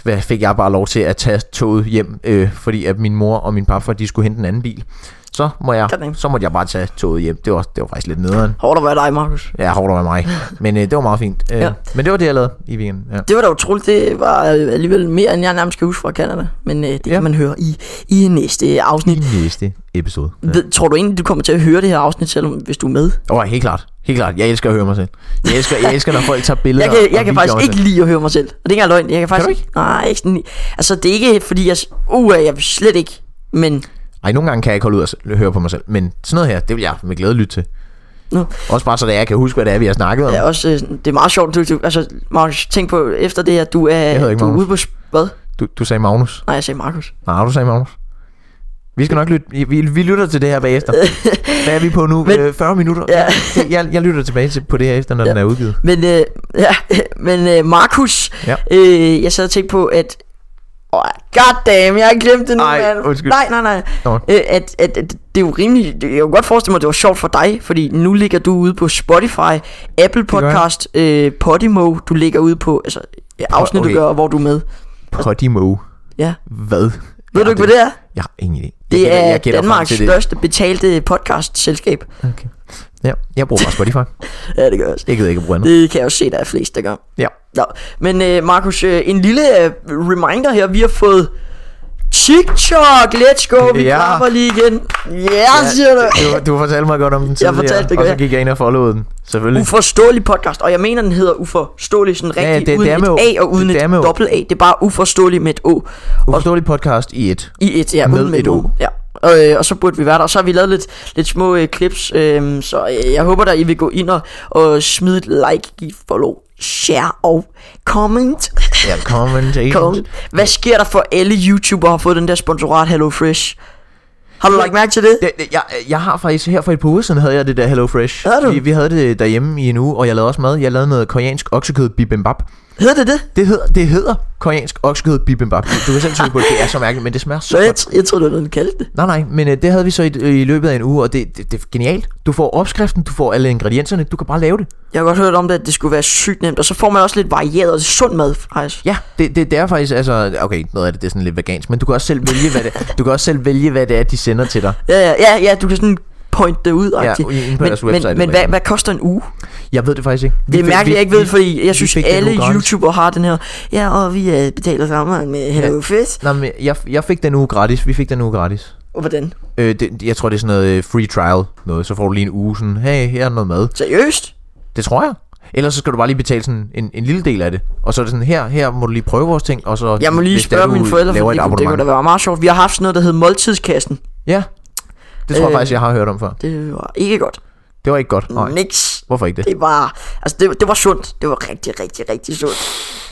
hvad, fik jeg bare lov til at tage toget hjem, øh, fordi at min mor og min papfar, de skulle hente en anden bil. Så, må jeg, Goddag. så måtte jeg bare tage toget hjem. Det var, det var faktisk lidt nederen. hårdt at være dig, Markus. Ja, hårdt over mig. Men øh, det var meget fint. Øh, Ja. ja. Men det var det, jeg lavede i weekenden. Ja. Det var da utroligt. Det var alligevel mere, end jeg nærmest kan huske fra Canada. Men øh, det ja. Ja. kan man høre i, i næste afsnit. I næste episode. Ja. Ved, tror du egentlig, du kommer til at høre det her afsnit, selvom hvis du er med? Åh, oh, helt klart. Helt klart. Jeg elsker at høre mig selv. Jeg elsker, jeg elsker når folk tager billeder. Jeg kan, og jeg kan videoer faktisk af ikke lide at høre mig selv. Og det er ikke engang løgn. Jeg kan faktisk du ikke? Nej, ikke sådan. Altså, det er ikke, fordi jeg... Uh, jeg vil slet ikke. Men Selv. Ej, nogle gange kan jeg ikke holde ud og s- høre på mig selv. Men sådan noget her, det vil jeg med glæde lytte til. Nå. Også bare så det er, jeg kan huske, hvad det er, vi har snakket om. det er også... øh, Det er meget sjovt. Du, du, altså, Markus, tænk på efter det her. Du er, hedder ikke du er Magnus. ude på... sp- Hvad? Du, du sagde Magnus. Nej, jeg sagde Markus. Nej, du sagde Magnus. Vi skal nok lytte. Vi, vi, vi lytter til det her bagefter. Hvad er vi på nu? Men- Men, 40 minutter? Ja. Det- Jeg, jeg lytter tilbage til, på det her efter, når ja. den er udgivet. Men, øh, ja, men øh, Markus, ja. Ja. øh, jeg sad og tænkte på, at... Oh, God damn, jeg har glemt det nu, Ej, mand. undskyld. Nej, nej, nej. Nå. Øh, at, at, at, det er jo rimelig... Jeg kunne godt forestille mig, at det var sjovt for dig, fordi nu ligger du ude på Spotify, Apple gør jeg. Podcast, øh, Podimo, du ligger ude på... Altså, afsnit, okay. okay. du gør, og hvor du er med. Podimo. Ja. Hvad? Ved du ikke, hvad det er? Jeg har ingen idé. Jeg Det gætter- er jeg gætter frem Danmarks til det. største betalte podcast-selskab. Okay. Ja, jeg bruger bare Spotify. Ja, det gør jeg også. Jeg gider ikke at bruge andet. Det kan jeg jo se, der er flest, der gør. Ja. Nå, men øh, Markus, øh, en lille øh, reminder her. Vi har fået TikTok. Let's go. Vi ja. Ja. klapper lige igen. Ja, ja siger du. du, du fortalte mig godt om den tidligere, fortalte det og godt, så gik jeg ind og followede den, selvfølgelig. Uforståelig podcast. Og jeg mener, den hedder uforståelig sådan rigtig ja, det- det uden er med et å. A og uden Det et er med å. dobbelt A. Det er bare uforståelig med et O. Uforståelig podcast i et. I et, ja, Med uden et O. mellemrum. Ja. Og, øh, og så burde vi være der. Og så har vi lavet lidt, lidt små øh, clips. Øh, så øh, jeg håber, at I vil gå ind og, og smide et like, give follow, share og comment. Ja, comment. Kongen. Hvad sker der for alle YouTubere har fået den der sponsorat Hello Fresh? Har du lagt mærke til det? Det, det, jeg, jeg har faktisk her for et par uger siden havde jeg det der Hello Fresh. Havde du? Vi, vi havde det derhjemme i en uge, og jeg lavede også mad. Jeg lavede noget koreansk oksekød bibimbap. Hedder det det? Det hedder, det hedder koreansk oksekød bibimbap. Du kan selv tænke på, det. det er så mærkeligt, men det smager så Så jeg, godt. tr- jeg troede, det var noget, den kaldte det. Nej, nej, men øh, det havde vi så i, i løbet af en uge, og det, det, det er genialt. Du får opskriften, du får alle ingredienserne, du kan bare lave det. Jeg har godt hørt om det, at det skulle være sygt nemt. Og så får man også lidt varieret og sund mad, faktisk. Ja, det, det, det er faktisk, altså, okay, noget af det, det er sådan lidt vegansk, men du kan også selv vælge, hvad det, du kan også selv vælge, hvad det er, de sender til dig. Ja, ja, ja, ja du kan sådan point det ud. Ja, agtigt. inde på men deres website men, men eller hvad, andet. hvad koster en uge? Jeg ved det faktisk ikke. Vi Det er fik- mærkeligt, jeg ikke ved, fordi jeg vi synes, fik den alle uge gratis. YouTubere har den her. Ja, og vi øh, betaler sammen med Hello Fresh. Nej, men jeg, jeg fik den uge gratis. Vi fik den uge gratis. Og hvordan? Øh, det, jeg tror, det er sådan noget øh, free trial noget. Så får du lige en uge sådan, hey, her er noget mad. Seriøst? Det tror jeg. Ellers så skal du bare lige betale sådan en, en lille del af det. Og så er det sådan, her, her må du lige prøve vores ting. Og så, Jeg må lige hvis det er, spørge du mine forældre, laver for et det, kunne- det kunne abonnement. da være meget sjovt. Vi har haft sådan noget, der hed måltidskassen. Ja, det tror Øh. jeg faktisk, jeg har hørt om før. Det var ikke godt. Det var ikke godt. Nej. Niks. Hvorfor ikke det? Det var, altså det, det var sundt. Det var rigtig, rigtig, rigtig sundt.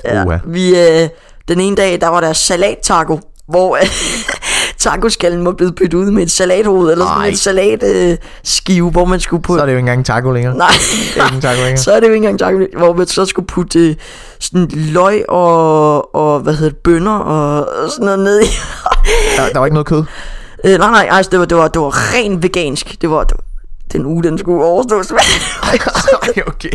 Ja. Uha. Vi, øh, den ene dag, der var der salattaco, hvor øh, tacoskallen var blevet byttet ud med et salathoved, eller sådan Ej. et salatskive, øh, skive, hvor man skulle Så putte... er det jo ikke engang taco længere. Nej, Det er ikke en taco længere. så er det jo ikke engang taco, hvor man så skulle putte øh, sådan løg og, og hvad hedder det, bønner og, og sådan noget ned i. Der, der var ikke noget kød. øh, nej, nej, altså det var, det, var, det var ren vegansk. Det var, det, den uge, den skulle overstås. Ej, okay.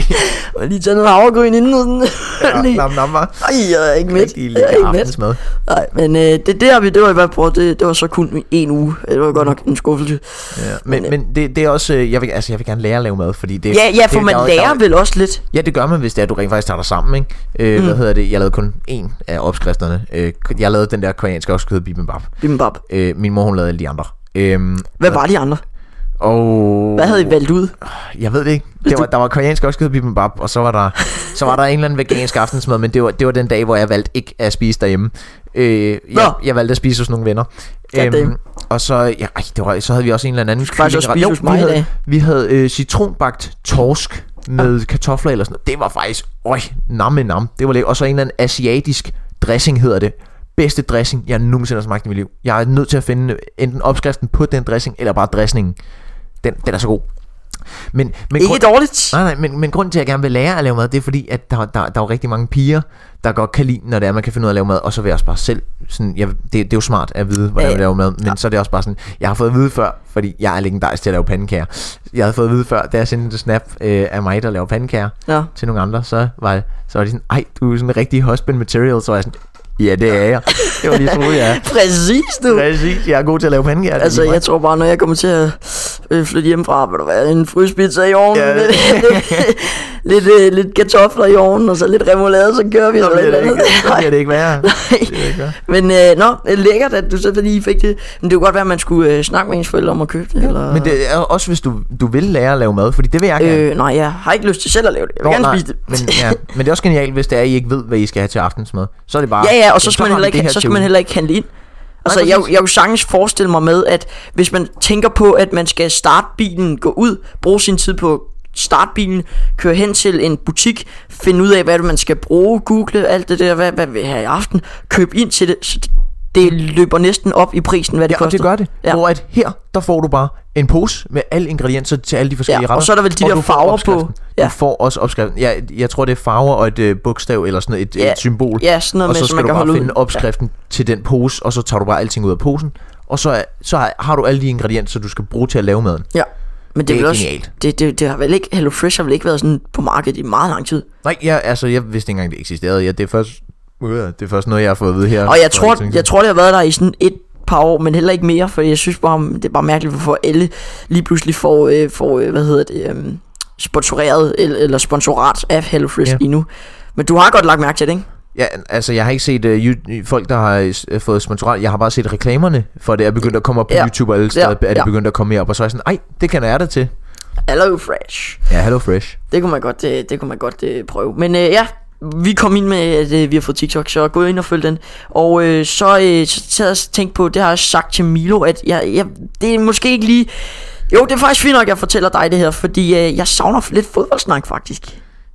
og lige tage noget havregryn inden. Og sådan. Ja, lige. nam, nam, var. Ej, jeg er ikke med. Rigtig Jeg er lækker ikke med. aftensmad. Nej, men øh, det, det har vi, det var i hvert fald, det, det var så kun en uge. Det var godt nok en skuffelse. Ja, men, men det, det er også, øh, jeg vil, altså, jeg vil gerne lære at lave mad, fordi det... Ja, ja, for det, man der er jo- der er lærer jo- vel også lidt. Ja, det gør man, hvis det er, at du rent faktisk tager dig sammen, ikke? Øh, mm. Hvad hedder det? Jeg lavede kun én af opskrifterne. Øh, jeg lavede den der koreanske opskrift, bibimbap. Bimbab. Øh, min mor, hun lavede alle de andre. Øhm, Hvad var de andre? og... Hvad havde I valgt ud? Jeg ved Uh. det ikke. Det var, der var koreansk opskrift bibimbap, og så var der, så var der en eller anden vegansk aftensmad, men det var, det var den dag, hvor jeg valgte ikke at spise derhjemme. Øh, jeg, Nå. jeg, valgte at spise hos nogle venner. Øhm, Goddamn. og så, ja, ej, det var, så havde vi også en eller anden skulle faktisk også kyllingeret. spise hos mig vi i havde, dag. vi havde øh, citronbagt torsk Ah. med kartofler eller sådan noget. Det var faktisk, øj, namme nam. Det var lækkert. Og så en eller anden asiatisk dressing hedder det. Bedste dressing, jeg nogensinde har smagt i mit liv. Jeg er nødt til at finde øh, enten opskriften på den dressing, eller bare dressingen. Den, den er så god. Men, men Ikke grund- dårligt. Nej, nej, men, men grunden til, at jeg gerne vil lære at lave mad, det er fordi, at der, der, der er jo rigtig mange piger, der godt kan lide, når det er, man kan finde ud af at lave mad, og så vil jeg også bare selv, sådan, jeg, det, det er jo smart at vide, hvordan Ja, man ja. laver mad, men så er det også bare sådan, jeg har fået at vide før, fordi jeg er legendarisk til at lave pandekager, jeg havde fået at vide før, da jeg sendte et snap øh, af mig, der laver pandekager Nå. til nogle andre, så var, så var de sådan, ej, du er sådan en rigtig husband material, så var jeg sådan, ja, det er jeg, det var lige troede, jeg er. Præcis, du. Præcis, jeg er god til at lave pandekager. det er Altså, lige mig. jeg tror bare, når jeg kommer til at øh, flytte hjemmefra, vil der være en fryspizza i ovnen, Ja. ja. lidt, lidt, øh, lidt kartofler i ovnen, og så lidt remoulade, så kører vi. så eller et bliver det eller ikke, andet. så bliver det ikke værre. Nej. Det er ikke værre. Men øh, nå, øh, lækkert, at du så lige fik det. Men det kunne godt være, at man skulle øh, snakke med ens forældre om at købe det. Eller... Men det er også, hvis du, du vil lære at lave mad, fordi det vil jeg gerne. øh, nej, jeg har ikke lyst til selv at lave det. Jeg vil Nå, gerne nej, spise det. Men, ja, men det er også genialt, hvis det er, at I ikke ved, hvad I skal have til aftensmad. Så er det bare... Ja, ja, og så skal, "Jamen, man, har vi heller det her ikke, så skal til man ugen." heller ikke handle ind. Altså, jeg, præcis. jeg kunne sagtens forestille mig med, at hvis man tænker på, at man skal starte bilen, gå ud, bruge sin tid på starte bilen, køre hen til en butik, finde ud af, hvad det er, man skal bruge, google alt det der, hvad, hvad vil jeg have i aften, købe ind til det, så det, det løber næsten op i prisen, hvad det Ja, koster. og det gør det. Ja. Ja. Hvor at her, der får du bare en pose med alle ingredienser til alle de forskellige Ja, og retter. så er der vel de der du får farver på. opskriften. Ja. Du får også opskriften. Ja, jeg tror, det er farver og et øh, bogstav eller sådan et, Ja, et symbol. ja, sådan noget og med, så som skal man du kan bare holde ud. finde opskriften ja. til den pose, og så tager du bare alting ud af posen. Og så, er, så har- har du alle de ingredienser, du skal bruge til at lave maden. Ja, men det, Det det er er vel også, genialt. det, det, det, har vel ikke, Hello Fresh har vel ikke været sådan på markedet i meget lang tid. Nej, jeg, altså, jeg vidste ikke engang, det eksisterede. Jeg, det, er først, øh, det er først noget, jeg har fået at vide her. Og jeg for tror, ikke så længe jeg tror, det har været der i sådan et par år, men heller ikke mere, for jeg synes bare, det er bare mærkeligt, hvorfor alle lige pludselig får, øh, får øh, hvad hedder det, øh, sponsoreret, eller, eller sponsorat af HelloFresh Ja. ja. lige nu. Men du har godt lagt mærke til det, ikke? Ja, altså jeg har ikke set uh, you- folk, der har uh, fået sponsorat. Jeg har bare set reklamerne for det. er begyndt at komme op på ja. Ja. YouTube og alle steder. Ja. Ja. Er det Ja. begyndt at komme mere op? Og så er jeg sådan, ej, det kan jeg da til. HelloFresh. Ja, hello fresh. Det kunne man godt, det, det kunne man godt øh, prøve. Men øh, ja, vi kom ind med, at øh, vi har fået TikTok, så gå ind og følg den. Og øh, så, øh, så sad jeg og tænkte på, det har jeg sagt til Milo, at jeg, jeg, det er måske ikke lige... Jo, det er faktisk fint nok, at jeg fortæller dig det her, fordi øh, jeg savner lidt fodboldsnak faktisk.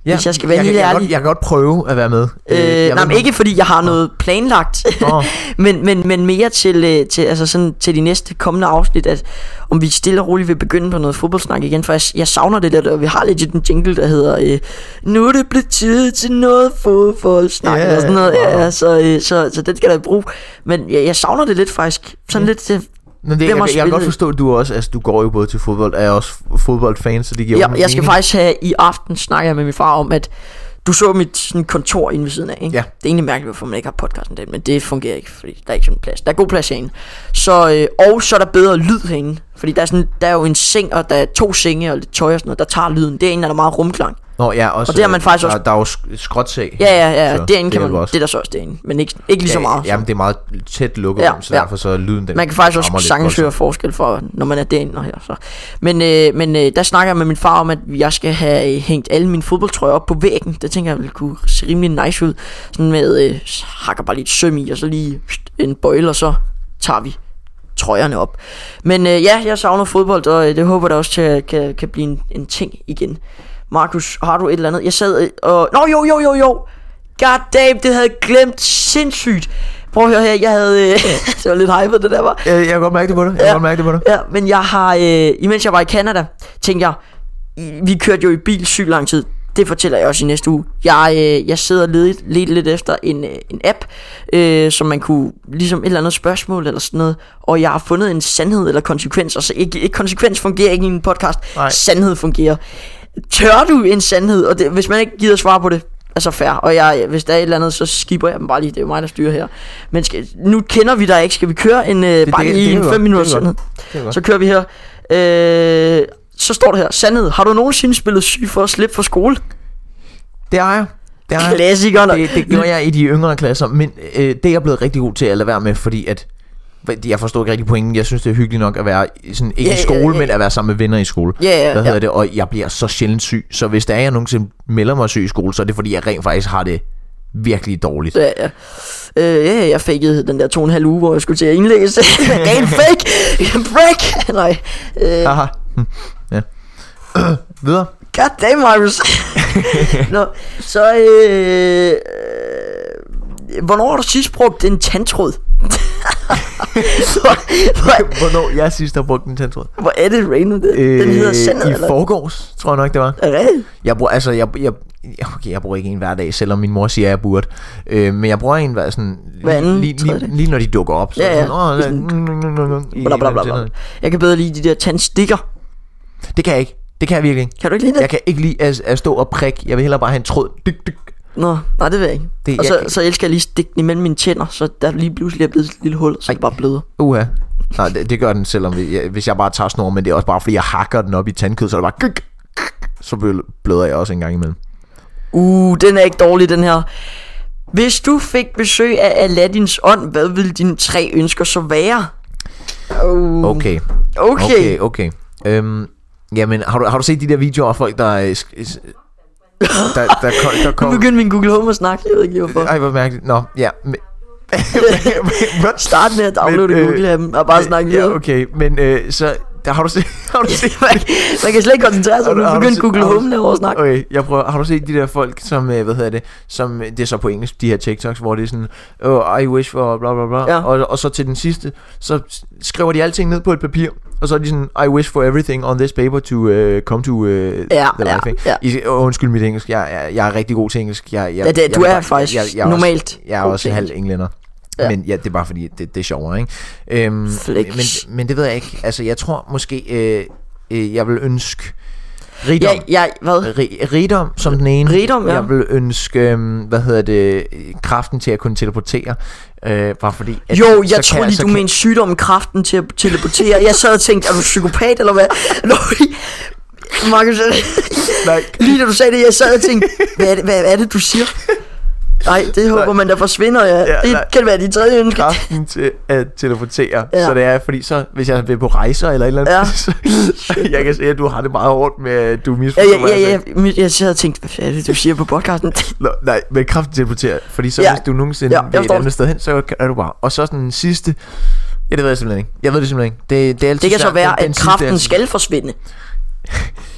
Ja, Hvis jeg skal være jeg, helt jeg, kan ærlig. godt, jeg kan godt prøve at være med. Øh, Øh, jeg nej, ved men ikke fordi jeg har noget planlagt, Nå. men, men, men mere til, øh, til, altså sådan, til de næste kommende afsnit, at om vi stille og roligt vil begynde på noget fodboldsnak igen, for jeg, jeg savner det der, og vi har legit en jingle, der hedder, øh, nu er det blevet tid til noget fodboldsnak, Ja, yeah, eller sådan noget, ja, wow. ja, så, øh, så, så den skal der bruge, men jeg, jeg savner det lidt faktisk, sådan lidt til... Men det, hvem jeg, har jeg, jeg kan spillet? godt forstå, at du også, altså du går jo både til fodbold, er også f- fodboldfan, så det giver jo Jeg, jeg mening. skal faktisk have i aften snakker jeg med min far om, at du så mit sådan, kontor inde ved siden af, ikke? Ja. Det er egentlig mærkeligt, hvorfor man ikke har podcasten den, men det fungerer ikke, fordi der er ikke sådan plads. Der er god plads herinde. Så, øh, og så er der bedre lyd herinde, fordi der er, sådan, der er jo en seng, og der er to senge og lidt tøj og sådan noget, der tager lyden. Det er en, der er meget rumklang. Nå, ja, også, øh, Og det har man faktisk der, også- Der er jo sk- skråtsag. Ja, ja, ja, Så så, derinde kan hjælper man, også. også. det er der så også derinde, men ikke, ikke lige så ja, meget. Jamen, det er meget tæt lukket Ja, ja, så ja. derfor så er lyden den Man kan faktisk rammer også lidt sagtens voldsomt. høre forskel for, når man er derinde og her. Så. Men, øh, men øh, der snakker jeg med min far om, at jeg skal have øh, hængt alle mine fodboldtrøjer op på væggen. Det tænker jeg ville kunne se rimelig nice ud. Sådan med, øh, hakker bare lidt søm i, og så lige pst, en bøjle, og så tager vi trøjerne op. Men øh, ja, jeg savner fodbold, og øh, det håber jeg da også til, kan, kan blive en, en ting igen. Markus, har du et eller andet? Jeg sad øh, og... Nå, jo, jo, jo, jo! God damn, det havde jeg glemt sindssygt. Prøv at høre her, jeg havde... Øh, det var lidt hypet, det der var. Ja, jeg kan godt mærke det på dig. Jeg kan Ja. godt mærke det på dig. Ja, men jeg har, øh, imens jeg var i Canada, tænkte jeg, i- vi kørte jo i bil sygt lang tid. Det fortæller jeg også i næste uge. Jeg, øh, jeg sidder lidt, lidt, lidt efter en, øh, en app, øh, som man kunne, ligesom et eller andet spørgsmål eller sådan noget, og jeg har fundet en sandhed eller konsekvens, altså ikke, ikke konsekvens fungerer ikke i en podcast, Nej. sandhed fungerer. Tør du en sandhed, og det, hvis man ikke gider svare på det, altså fair, og jeg, hvis der er et eller andet, så skipper jeg dem bare lige, det er jo mig, der styrer her. Men skal, nu kender vi dig ikke, skal vi køre en, øh, det, bare det- lige det er en godt. 5 minutters Det er sandhed? godt. Det er godt. Så kører vi her. Øh, så står der her, sandhed, har du nogensinde spillet syg for at slippe fra skole? Det er jeg. Det er jeg. Klassikeren. det, det gjorde jeg i de yngre klasser, men øh, det er jeg blevet rigtig god til at lade være med, fordi at jeg forstår ikke rigtig pointen. Jeg synes, det er hyggeligt nok at være i- sådan, ikke Ja, i ja, skole, ja. men at være sammen med venner i skole. Ja, ja, Hvad ja. hedder det? Og jeg bliver så sjældent syg. Så hvis der er, jeg nogensinde melder mig syg i skole, så er det fordi, jeg rent faktisk har det virkelig dårligt. Ja, ja. Øh, ja, jeg fakede den der to og en halv uge, hvor jeg skulle til at indlægges. Ren fake! Break! Nej. Øh, Haha. Hm. Ja. Videre. God damn, Marius. Nå, så... Øh, øh, hvornår har du sidst brugt en tandtråd? hvor, hvor, Hvornår jeg sidst har brugt en tandtråd? hvor er det random? Den, øh, den hedder sandhed, I forgårs, tror jeg nok, det var. Er det rigtigt? Jeg bruger, altså, jeg, jeg, okay, jeg bruger ikke en hver dag, selvom min mor siger, at jeg burde. Øh, men jeg bruger en hver sådan... Hver anden, lige, lige, tredje. lige, lige, når de dukker op. Så Ja, er jeg ja. Sådan, "Åh, Sådan- i- Bla, bla, bla, bla. Jeg kan bedre lide de der tandstikker. Det kan jeg ikke. Det kan jeg virkelig ikke. Kan du ikke lide det? Jeg kan ikke lide at, at stå og prikke. Jeg vil hellere bare have en tråd. Dyk, dyk. Nå, nej, det ved jeg ikke. Det- Det, og jeg så, kan- så elsker jeg lige at stikke den imellem mine tænder, så der lige pludselig er blevet et lille hul, så er det bare bløder. Uha. Nej, det, det gør den, selvom vi, jeg, hvis jeg bare tager snor, men det er også bare, fordi jeg hakker den op i tandkød, så er det bare... Dyk, dyk. Så blø- bløder jeg også en gang imellem. Uh, den er ikke dårlig, den her. Hvis du fik besøg af Aladdins ånd, hvad ville dine tre ønsker så være? Uh, Okay. okay. Okay, okay. Øhm, jamen, har du, har du set de der videoer af folk, der... øh, sk- s- Der, der, kom, der Nu kom, begyndte min Google Home at snakke, jeg ved ikke lige hvorfor. Ej, hvor mærkeligt. Nå, ja. Men, What? Start med at downloade Men, øh, Google Home og bare snakke ja, videre. okay, men øh, så der, har du set... Har du set Man, man kan slet ikke koncentrere sig, har du- nu har du begyndte set- Google har du- Home derovre at snakke. Okay, jeg prøver. Har du set de der folk, som, øh, hvad hedder det, som, øh, det er så på engelsk, de her TikToks, hvor det er sådan, oh, I wish for bla bla bla, Ja. og, og så til den sidste, så s- skriver de alting ned på et papir, og så er de sådan, I wish for everything on this paper to uh, come to uh, ja, the ja, life. ikke? ja. I, åh, undskyld mit engelsk, jeg, jeg, jeg er rigtig god til engelsk. Jeg, jeg, Ja, det, jeg, du jeg, er faktisk normalt Også, jeg er god også til halv englænder. Ja. Ja. Men ja, det er bare fordi, det, det er sjovere, ikke? Øhm, Flex. men, men det ved jeg ikke. Altså, jeg tror måske, øh, øh, jeg vil ønske rigdom. Ja, ja, hvad? Rig- rigdom som den ene. Rigdom, ja. Jeg vil ønske, øhm, hvad hedder det, øh, kraften til at kunne teleportere. Øh, bare fordi... At Jo, jeg så tror kan- lige, så du kan- mente sygdommen, kraften til at teleportere. Jeg sad og tænkte, er du psykopat eller hvad? Nå, Markus, Nej, lige da du sagde det, jeg sad og tænkte, hvad er det, hvad er det du siger? Nej, det håber man, der forsvinder, ja. Ja, det nej. kan være de tredje ønske. kraften til at teleportere. Ja. Ja. Så det er, fordi så, hvis jeg vil på rejser eller et eller andet, Ja. ja. så, jeg kan se, at du har det meget hårdt med, at du Ja, misforstår, ja, hvad ja, jeg ja, sagde. jeg, jeg sad og tænkte, hvad er det, du siger på podcasten? Nå, nej, men kraften til at teleportere, fordi så Ja. ja. hvis du nogensinde Ja, ja, jeg vil et forstår andet sted hen, så kan- er du bare. Og så sådan den sidste, ja, det ved jeg simpelthen ikke. Jeg ved det simpelthen ikke. Det, det, er altid Det kan så svært. Den- være, den at sidste er kraften altid- skal forsvinde.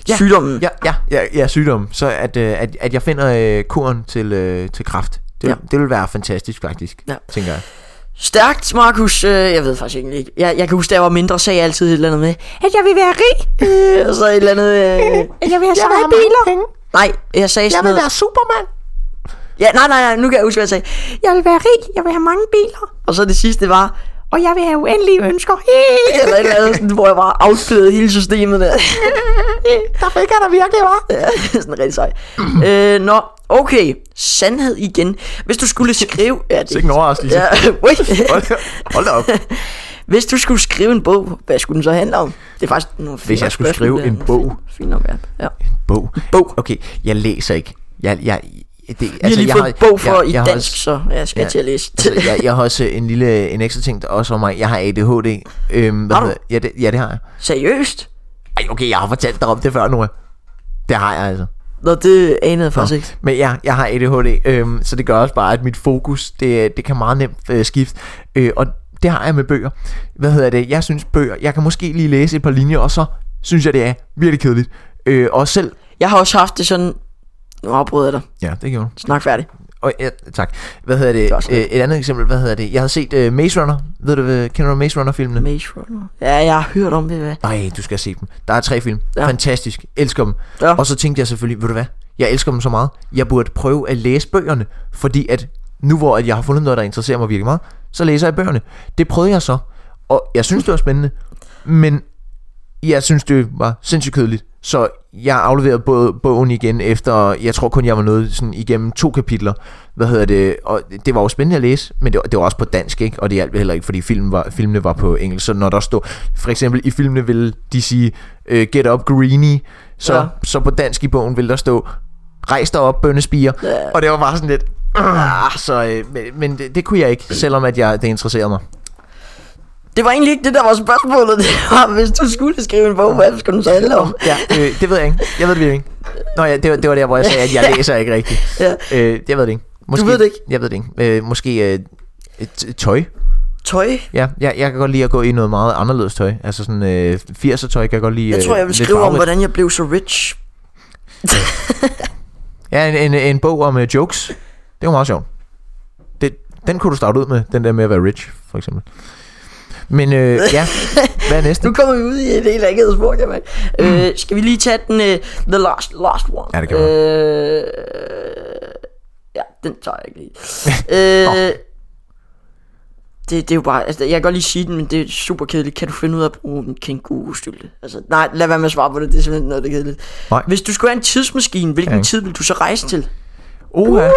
Ja, Sygdommen. Ja, ja, ja, ja sygdom. Så at, øh, at, at jeg finder øh, kuren til, øh, til kraft. Det, Ja. ja. det vil være fantastisk faktisk, Ja. ja. tænker jeg. Stærkt, Markus. Øh, jeg ved faktisk egentlig ikke. Jeg, jeg kan huske, da jeg var mindre, sagde jeg altid et eller andet med, at jeg vil være rig. Øh, og så et eller andet... Øh, at jeg vil have så vil mange have mange biler. Nej, jeg sagde sådan Jeg vil noget. være Superman. Ja, nej, nej, nej, nu kan jeg huske, hvad jeg sagde. Jeg vil være rig. Jeg vil have mange biler. Og så det sidste var, Og jeg vil have uendelige ønsker. Hi. eller et eller andet, sådan, hvor jeg bare affledede hele systemet der. Der fik jeg der virkelig, var. Ja, sådan rigtig sej. øh, nå, okay. Sandhed igen. Hvis du skulle skrive... Ja, det Sikke en overraskelse. Ja, wait. Hold, hold da op. Hvis du skulle skrive en bog, hvad skulle den så handle om? Det er faktisk nogle Hvis jeg skulle skrive en bog. Altså, Fint nok, ja. ja. Bog. Bog. Okay, jeg læser ikke. Jeg, jeg, det, Vi altså, har lige fået en bog for i har dansk, også- så jeg skal ja, til at læse. Altså, jeg, jeg har også en lille en ekstra ting der også om mig. Jeg har ADHD. Øhm, hvad Har du? hedder- Ja det, ja, det har jeg. Seriøst? Ej, okay, jeg har fortalt dig om det før, Nora. Det har jeg altså. Nå, det anede jeg faktisk ikke. Men ja, jeg har ADHD, øhm, så det gør også bare, at mit fokus, det, det kan meget nemt øh, skifte. Øh, og det har jeg med bøger. Hvad hedder det? Jeg synes bøger, jeg kan måske lige læse et par linjer, og så synes jeg, det er virkelig kedeligt. Øh, og selv... Jeg har også haft det sådan... Nu afbryder jeg dig. Ja, det gjorde du. Snak færdig. Og, ja, tak. Hvad hedder det? er også Øh, et andet eksempel, hvad hedder det? Jeg har set øh, Maze Runner. Ved du, hvad- kender du Maze Runner-filmene? Maze Runner. Ja, jeg har hørt om det, hvad? Nej, du skal se dem. Der er tre film. Ja. Ja. Fantastisk. Elsker dem. Ja. Ja. Og så tænkte jeg selvfølgelig, ved du hvad? Jeg elsker dem så meget. Jeg burde prøve at læse bøgerne, fordi at nu hvor at jeg har fundet noget, der interesserer mig virkelig meget, så læser jeg bøgerne. Det prøvede jeg så, og jeg synes, det var spændende, men jeg synes, det var sindssygt kedeligt. Så jeg afleverede både bogen igen efter, jeg tror kun, jeg var nået sådan igennem to kapitler. Hvad hedder det? Og det var jo spændende at læse, men det var, det var også på dansk, ikke? Og det hjalp heller ikke, fordi filmen var, filmene var på engelsk. Så når der stod, for eksempel i filmene ville de sige, øh, get up greenie, så, Ja. ja. så på dansk i bogen ville der stå, rejs dig op, bønnespiger. Ja. Ja. Og det var bare sådan lidt, "Ugh." så, øh, men, men det, det, kunne jeg ikke, selvom at jeg, det interesserede mig. Det var egentlig ikke det, der var spørgsmålet. Det var, hvis du skulle skrive en bog, hvad skulle den så handle om? Ja, øh, det ved jeg ikke. Jeg ved det virkelig ikke. Nå ja, det var, det var der, hvor jeg sagde, at jeg læser ikke rigtigt. Ja. Øh, jeg ved det ikke. Måske, ved det ikke? Jeg ved det ikke. Øh, måske øh, t- tøj. Tøj? Ja, jeg, jeg kan godt lide at gå i noget meget anderledes tøj. Altså sådan øh, 80'er tøj kan jeg godt lide. Jeg tror, øh, jeg vil lidt skrive om, farverigt. hvordan jeg blev så rich. Ja, en, en, en bog om øh, jokes. Det var meget sjovt. Det, den kunne du starte ud med, den der med at være rich, for eksempel. Men øh, ja, hvad er næste? Nu kommer vi ud i et helt andet spor, kan man. Mm. Øh, skal vi lige tage den, uh, the last, last one? Ja, det kan vi øh, Ja, den tager jeg ikke lige. øh, det, det er jo bare, altså, jeg kan godt lige sige den, men det er super kedeligt. Kan du finde ud af at bruge en kængurustylte? Altså, nej, lad være med at svare på det, det er simpelthen noget, der er kedeligt. Nej. Hvis du skulle have en tidsmaskine, hvilken Ja, ikke? tid vil du så rejse til? Oha.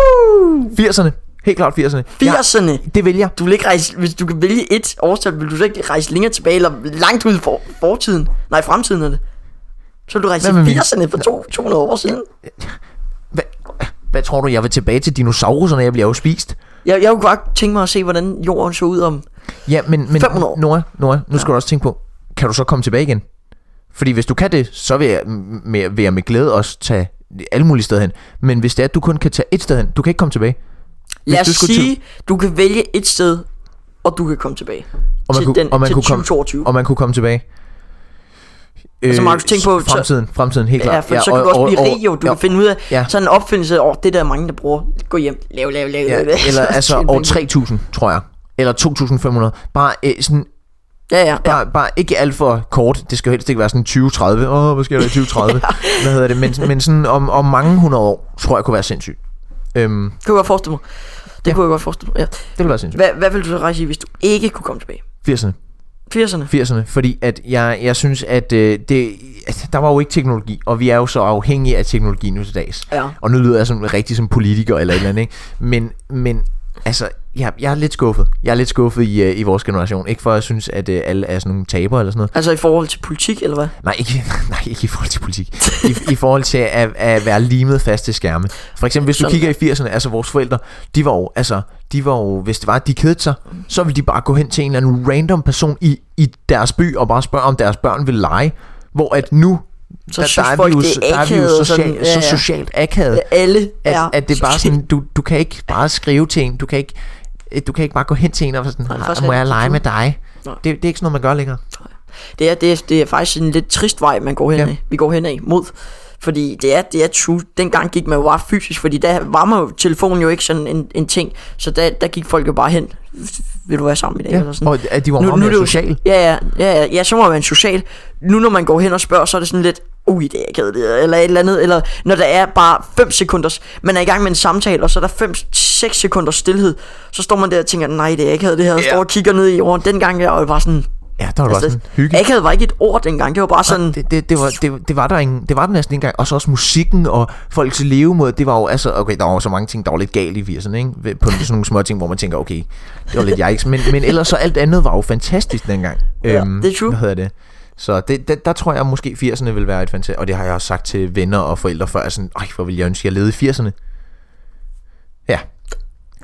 80'erne. Helt klart 80'erne. Ja, 80'erne. det vil jeg. Du vil ikke rejse, hvis du kan vælge et årstal, vil du så ikke rejse længere tilbage, eller langt ud i for, fortiden? Nej, fremtiden er det. Så vil du rejse til Hvad med min- 80'erne for to, 200 år siden. Hvad, hvad tror du, jeg vil tilbage til dinosaurerne, jeg bliver jo spist? Jeg, jeg kunne godt tænke mig at se, hvordan jorden så ud om... Ja, men, men 500 år. Nora, Nora, nu skal du også tænke på, kan du så komme tilbage igen? Fordi hvis du kan det, så vil jeg m- med, vil jeg med glæde også tage alle mulige steder hen. Men hvis det er, at du kun kan tage et sted hen, du kan ikke komme tilbage. Hvis Lad os du skulle sige, du kan vælge et sted, og du kan komme tilbage. Og til den, til komme, 2022. og man kunne komme tilbage. Altså, Øh, Markus, tænk på- så- Fremtiden, fremtiden, helt klart. Ja, for ja, så kan du også blive rig, jo. Du kan finde ud af ja. ja. sådan en opfindelse over det, der er mange, der bruger. Gå hjem, lav, lav, lav. lav, lav. Ja, eller altså Tjene over penge. 3.000, tror jeg. Eller 2.500. Bare øh, sådan Ja, ja. ja. Bare, bare ikke alt for kort. Det skal jo helst ikke være sådan 2030. Åh, oh, hvad sker der i 2030? Hvad hedder det? Men, men sådan om, om mange hundrede år, tror jeg kunne være sindssygt. Øhm, Det kunne jeg godt forestille mig. Det ja. kunne jeg godt forestille mig, ja. det ville være sindssygt. Hvad, hvad ville du så rejse i, hvis du ikke kunne komme tilbage? 80'erne. 80'erne. 80'erne. Fordi at jeg, jeg synes, at øh, det, at der var jo ikke teknologi, og vi er jo så afhængige af teknologi nu til dags. Ja. Og nu lyder jeg som rigtig som politiker eller et eller andet, ikke? Men, men altså, jeg, jeg er lidt skuffet. Jeg er lidt skuffet i, øh, i vores generation. Ikke for at synes, at øh, alle er sådan nogle tabere eller sådan noget. Altså i forhold til politik, eller hvad? Nej, ikke, nej, ikke i forhold til politik. I, i forhold til at, at være limet fast til skærme. For eksempel, hvis du Sådan. kigger i 80'erne, altså vores forældre, de var jo, altså, de var jo, hvis det var, at de kedede sig, så ville de bare gå hen til en eller anden random person i, i deres by og bare spørge, om deres børn ville lege. Hvor at nu, Så synes folk, det er der er vi jo akavet og social, sådan, sådan, ja, ja. så socialt akavet, Ja, alle at, er... at det er bare sådan, du, du kan ikke bare skrive til en, du kan ikke, øh, du kan ikke bare gå hen til en og være sådan, det er "Ah, faktisk må jeg rigtigt. lege med dig? Nej. Det, det er ikke sådan noget, man gør længere. Det, er, det, er, det er faktisk en lidt trist vej, man går hen Ja. ja. Vi går hen af mod. Fordi det er, det er true. Dengang gik man jo bare fysisk, fordi der var man jo, telefonen jo ikke sådan en, en ting. Så der, der gik folk jo bare hen. Vil du være sammen i dag? Ja. Eller sådan. Og at de var meget mere det jo- sociale. Ja, ja, ja, ja, ja, så må man social. Nu når man går hen og spørger, så er det sådan lidt, ui, det er kedeligt, eller et eller andet, eller når der er bare 5 sekunders, man er i gang med en samtale, og så er der 5-6 sekunders stillhed, så står man der og tænker, nej, det er ikke det her, og Ja. står og kigger ned i jorden. Dengang, jeg var det bare sådan, Ja, der var altså, bare sådan, hygge. Akavet var ikke et ord dengang, det var bare sådan... det, det, det, var, det, det, var der ingen, det var der næsten ikke engang. Og så også musikken og folks levemåde. Det var jo, altså, okay, der var jo så mange ting, der var lidt galt i 80'erne, ikke? Ved- På sådan nogle små ting, hvor man tænker, okay, det var lidt jikes. Men, men ellers så alt andet var jo fantastisk dengang. Øhm, Ja, det er true. Hvad hedder det? Så det, det, der tror jeg måske 80'erne vil være et fantastisk... Og det har jeg også sagt til venner og forældre før, at sådan, Ej, hvor ville jeg ønske, jeg levede i 80'erne. Ja,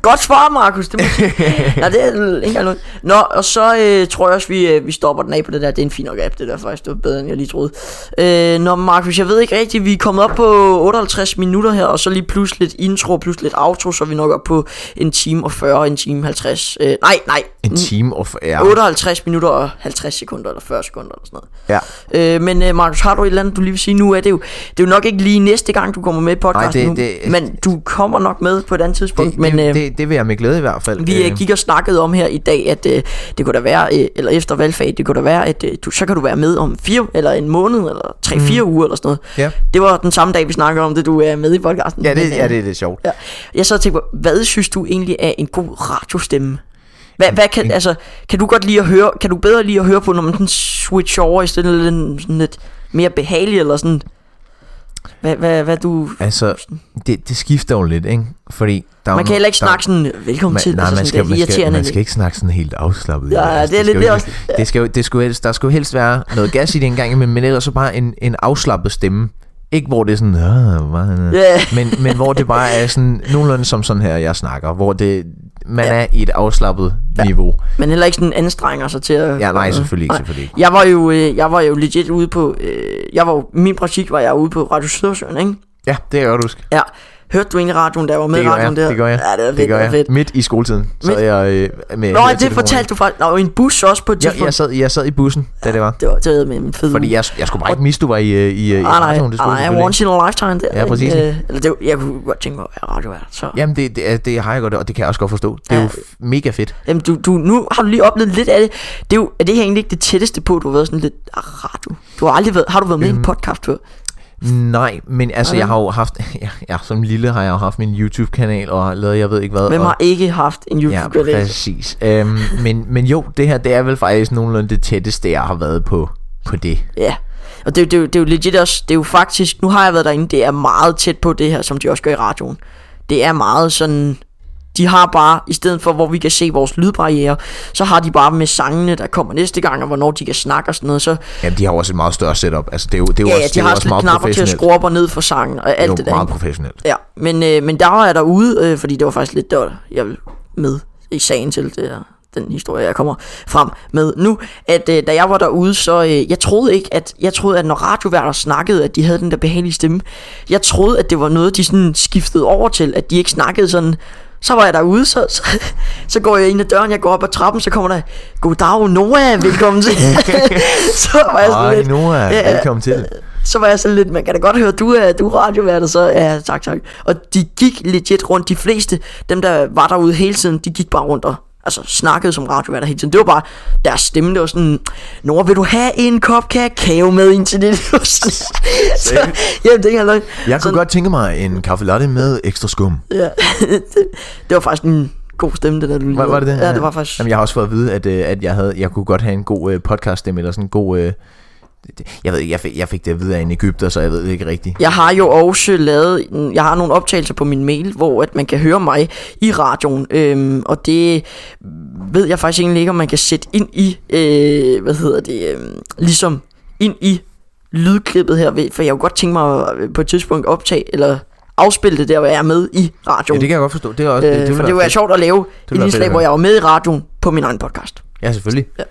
Godt svar, Markus. Det må jeg sige. Nej, det er ikke noget. Nå, og så øh, tror jeg også, vi, øh, vi stopper den af på det der. Det er en fin nok app, det der faktisk. Det var bedre, end jeg lige troede. Øh, nå, Markus, jeg ved ikke rigtigt. Vi er kommet op på 58 minutter her, og så lige plus lidt intro, plus lidt outro, så er vi nok op på en time og 40, en time 50. Øh, nej, nej. en time of... Ja, 58 minutter og 50 sekunder, eller 40 sekunder, eller sådan noget. ja. Øh, men øh, Markus, har du et eller andet, du lige vil sige nu? Er det, jo, det er jo nok ikke lige næste gang, du kommer med i podcasten Nej, det- nu, det- men du kommer nok med på et andet tidspunkt. det, men, det, øh, det, det, det vil jeg med glæde i hvert fald. Øhm, Vi øh, gik og snakkede om her i dag, at øh, det kunne da være, øh, eller efter valgfag, det kunne da være, at øh, du, så kan du være med om fire, eller en måned, eller Mm. tre-fire uger, eller sådan noget. Ja. Det var den samme dag, vi snakkede om det, du er med i podcasten. ja, Men, det, øh, ja, det er lidt sjovt. Ja. Jeg sad og tænkte på, hvad synes du egentlig er en god radiostemme? Hvad, hvad Mm. kan, altså, kan du godt lide at høre, kan du bedre lide at høre på, når man sådan switcher over i stedet for den sådan lidt mere behagelig, eller sådan, hvad, hvad, hvad du... Altså, det, det skifter jo lidt, ikke? Fordi der er Man jo kan heller ikke der- snakke sådan, velkommen Man, til, nej, altså, man sådan, skal, det er man, skal, irriterende. man skal ikke snakke sådan helt afslappet. Ja, jo. det er lidt skal jo det ikke- Det skal, jo- det skulle, helst- der skulle helst være noget gas i det engang, imellem, men ellers så bare en, en afslappet stemme. Ikke hvor det er sådan, "Åh, hvad?" Ja. men, men hvor det bare er sådan, nogenlunde som sådan her, jeg snakker. Hvor det, man er i et afslappet niveau. Men heller ikke sådan anstrenger sig til at... altså, Ja, nej, selvfølgelig ikke, selvfølgelig ikke. Jeg var jo, øh, jeg var jo legit ude på... Øh, jeg var jo, min praktik var jeg ude på Radio Sydsøen, ikke? Ja, det kan jeg godt huske. Ja. Hørte du egentlig radioen, der var med Det i gør, jeg, radioen der? det gør jeg. Ja, det var fedt, det gør det var jeg. fedt. Midt i skoletiden sad jeg øh, med Nå, det høretelefoner. fortalte du faktisk. Der var jo en bus også på et jeg, tidspunkt. jeg, sad, jeg sad i bussen, da det var. Det var, det var med min fede Fordi jeg, jeg skulle bare ikke misse, du var i, øh, i, øh, i Ah, nej, radioen, det skulle du nej, selvfølgelig nej, once in a lifetime der. Ja, ikke? præcis. Øh, eller det, jeg kunne godt tænke mig at være radiovært. Så. Jamen, det, det, er- det har jeg godt, og det kan jeg også godt forstå. Det er Ja. ja. jo f- mega fedt. Jamen, du, du, nu har du lige oplevet lidt af det. det er, jo, er det her egentlig ikke det tætteste på, du har været sådan lidt ah, radio? Du har aldrig været, har du været med Øhm. i en podcast før? Nej, men altså, jeg har jo haft... Ja, ja, som lille har jeg jo haft min YouTube-kanal, og har lavet, jeg ved ikke hvad. Hvem og, har ikke haft en Ja, YouTube-kanal? præcis. Øhm, men, men jo, det her, det er vel faktisk nogenlunde det tætteste, jeg har været på, på det. Ja, og det, er jo- det, er jo- det er jo legit også, det er jo faktisk, nu har jeg været derinde, det er meget tæt på det her, som de også gør i radioen. Det er meget sådan, de har bare, i stedet for hvor vi kan se vores lydbarriere, så har de bare med sangene, der kommer næste gang, og hvornår de kan snakke og sådan noget, så Jamen, de har jo også et meget større setup. Altså, det er jo, det er jo ja, også, ja, det de er har jo også også lidt meget knapper til at professionelt. skrue op og ned for sangen og alt Det det, er der. jo meget ikke? professionelt. Ja, men, øh, men der var jeg derude, øh, fordi det var faktisk lidt, der var, jeg ville med i sagen til det her, den historie, jeg kommer frem med nu, at øh, da jeg var derude, så øh, jeg troede ikke, at jeg troede, at når radioværter snakkede, at de havde den der behagelige stemme, jeg troede, at det var noget, de sådan skiftede over til, at de ikke snakkede sådan, så var jeg derude, så, så, så går jeg ind ad døren, jeg går op ad trappen, så kommer der, goddag Noah, velkommen til. så var jeg sådan Ej, Altså, lidt, Noah, Ja, ja. velkommen til. så var jeg sådan lidt, man kan da godt høre, du er, du er radiovært, og så, ja, tak, tak. Og de gik legit rundt, de fleste, dem der var derude hele tiden, de gik bare rundt og altså, snakkede som radioværter hele tiden. Det var bare deres stemme, det var sådan, Nora, vil du have en kop kakao med ind til det? Det var sådan- så, jamen, det kan jeg løgn. Jeg kunne Sådan- godt tænke mig en kaffe latte med ekstra skum. Ja. det, det, var faktisk en god stemme, det der, du lige Var, var det det? Ja, det var faktisk... Jamen, jeg har også fået at vide, at, øh, at jeg, havde, jeg kunne godt have en god øh, podcast stemme, eller sådan en god... Øh, det- jeg ved ikke, jeg fik, jeg fik det at vide af en Ægypter, så jeg ved det ikke rigtigt. Jeg har jo også lavet, en- jeg har nogle optagelser på min mail, hvor at man kan høre mig i radioen, øhm, og det ved jeg faktisk egentlig ikke, om man kan sætte ind i, øh, hvad hedder det, øh, ligesom ind i lydklippet her, ved- for jeg kunne godt tænke mig at øh, på et tidspunkt optage, eller afspille det der, hvor jeg er med i radioen. Ja, det kan jeg godt forstå. Det er også, Øh, det, det, for det var sjovt at lave ville et være fedt indslag, at hvor høre. jeg var med i radioen på min egen podcast. Ja, selvfølgelig. Ja.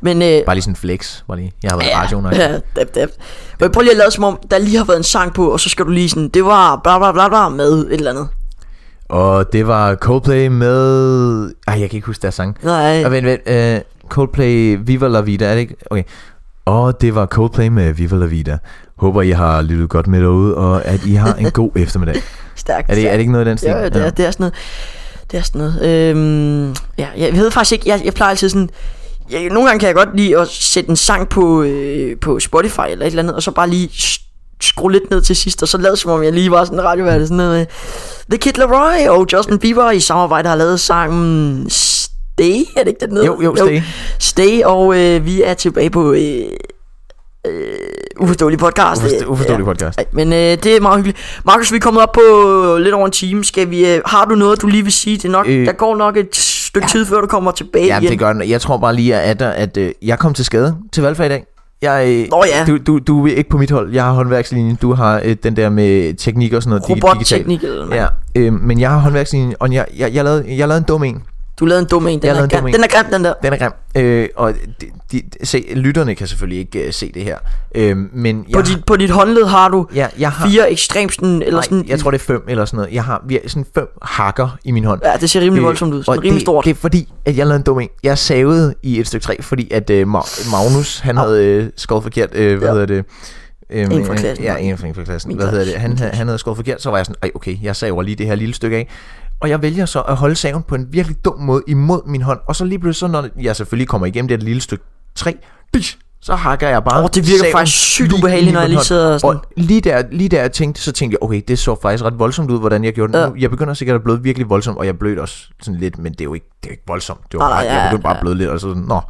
Men øh, Bare lige sådan en flex. Bare lige. Jeg har været i radioen. og- Ja, dab, dab. Men prøv lige at lade som om, der lige har været en sang på, og så skal du lige sådan, det var bla bla bla bla med et eller andet. Og det var Coldplay med... Ej, jeg kan ikke huske deres sang. Nej. Og vent, vent. Øh, Coldplay Viva La Vida, er det ikke? Okay. Og det var Coldplay med Viva La Vida. Håber, I har lyttet godt med derude, og at I har en god eftermiddag. Stærkt. Er det, er det ikke noget i den stil? Ja, det, er, det er sådan noget. Det er sådan noget. Øhm, ja, jeg ved faktisk ikke, jeg, jeg plejer altid sådan... Jeg, nogle gange kan jeg godt lide at sætte en sang på, øh, på Spotify eller et eller andet, og så bare lige s- skrue lidt ned til sidst, og så lad som om jeg lige var sådan en radiovært, sådan noget med, The Kid Laroi og Justin Bieber i samarbejde har lavet sangen Stay, er det ikke det, den hedder? Jo, jo, Stay. Stay, og øh, vi er tilbage på øh, øh, Uforståelig Podcast. Uforstå- uforståelig Ja. podcast. Ej, Men øh, det er meget hyggeligt. Markus, vi er kommet op på lidt over en time. Skal vi, øh, har du noget, du lige vil sige? Det er nok, øh, Øh. der går nok et stykke ja. tid, før du kommer tilbage Ja, igen. det gør den. Jeg tror bare lige, at, at, at øh, jeg kom til skade til valgfag i dag. Jeg, øh, Nå ja. du, du, du er ikke på mit hold. Jeg har håndværkslinjen. Du har øh, den der med teknik og sådan noget. dig- Robotteknik digitalt. eller noget. Ja, øh, men jeg har håndværkslinjen, og jeg, jeg, jeg, lavede, jeg lavede en dum en. Du lavede en dum en. Den, Jeg er, lavede en grim. dum en. den er grim, den der. Den er grim. Øh, og de, de, se, lytterne kan selvfølgelig ikke øh, se det her. Øh, men På, jeg, dit, på dit håndled har du ja, jeg har, fire ekstremt sådan, eller nej, sådan... jeg tror det er fem eller sådan noget. Jeg har vi er sådan fem hakker i min hånd. Ja, det ser rimelig voldsomt ud. Øh, og Sådan rimelig det, stort. Det er fordi, at jeg lavede en dum en. Jeg savede i et stykke træ, fordi at øh, Ma- Magnus, han havde øh, skåret forkert, øh, hvad Ja. ja. hedder det? Øhm, En fra klassen. Ja, en fra, en fra klassen. Min Hvad klasse. hedder det? Han, havde- han havde skåret forkert, så var jeg sådan, ej okay, jeg saver lige det her lille stykke af. Og jeg vælger så at holde saven på en virkelig dum måde imod min hånd. Og så lige pludselig, så når jeg selvfølgelig kommer igennem det her lille stykke træ, bish, så hakker jeg bare Åh, det virker saven faktisk sygt lige- ubehageligt, lige når på jeg en lige hånd. sidder sådan. Og lige der, lige der jeg tænkte, så tænkte jeg, okay, det så faktisk ret voldsomt ud, hvordan jeg gjorde det. Ja. Ja. Jeg begynder sikkert at bløde virkelig voldsomt, og jeg blødte også sådan lidt, men det er jo ikke, det er jo ikke voldsomt. Det var Nej, bare, nej, jeg ja, begyndte bare ja. at bløde lidt, og så sådan, nå.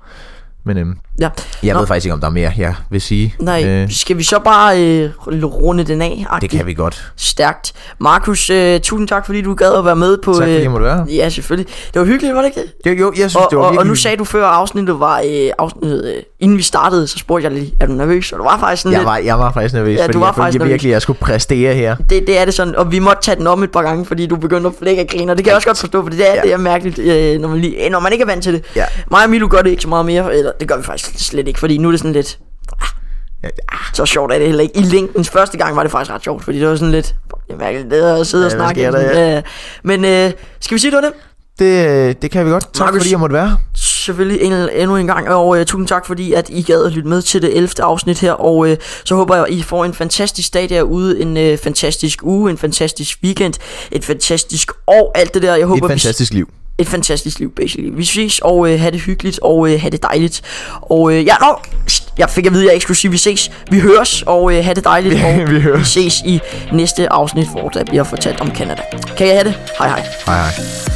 Men øhm, Ja. Nå. jeg Nå. ved faktisk ikke, om der er mere, jeg vil sige. Nej, øh. Øh, skal vi så bare øh, runde den af? det kan vi godt. Stærkt. Markus, øh, tusind tak, fordi du gad at være med på... øh, Tak fordi jeg måtte være her. Ja, selvfølgelig. Det var hyggeligt, var det ikke det? Jo, jo, jeg synes, Og, det var og, og virkelig- nu sagde du før afsnittet var øh, afsnittet, øh, inden vi startede, så spurgte jeg lige, er du nervøs? Og du var faktisk sådan jeg lidt, var, jeg var faktisk nervøs, Ja, ja, du fordi var jeg faktisk følte jeg nervøs. virkelig, at jeg skulle præstere her. det, det er det sådan, og vi måtte tage den om et par gange, fordi du begyndte at flække og grine, og det kan jeg også godt forstå, for det er, ja. Ja. det er mærkeligt, øh, når, man lige, øh, når man ikke er vant til det. Ja. Mig og Milo gør det ikke så meget mere, eller det gør vi faktisk slet ikke, fordi nu er det sådan lidt, "Ah, Ja, ah." så sjovt er det heller ikke. I længdens første gang var det faktisk ret sjovt, fordi det var sådan lidt, fuck, det er mærkeligt det er at sidde ja, og Ja, hvad snakke. sker der, sådan, øh, men øh, skal vi sige, det var det? Det, det kan vi godt. Tak Markus. fordi jeg måtte være her. selvfølgelig en, endnu en gang, og øh, tusind tak fordi, at I gad at lytte med til det 11. afsnit her, og øh, så håber jeg, at I får en fantastisk dag derude, en øh, fantastisk uge, en fantastisk weekend, et fantastisk år, alt det der. Jeg håber, Et vi- fantastisk liv. et fantastisk liv, basically. Vi ses, og øh, have det hyggeligt, og øh, have det dejligt. Og øh, ja, nå, pst, jeg fik at vide, at jeg ikke skulle sige, vi ses. Vi høres, og øh, have det dejligt, og vi høres. vi ses i næste afsnit, hvor der bliver fortalt om Canada. Kan jeg have det? Hej hej. Hej hej.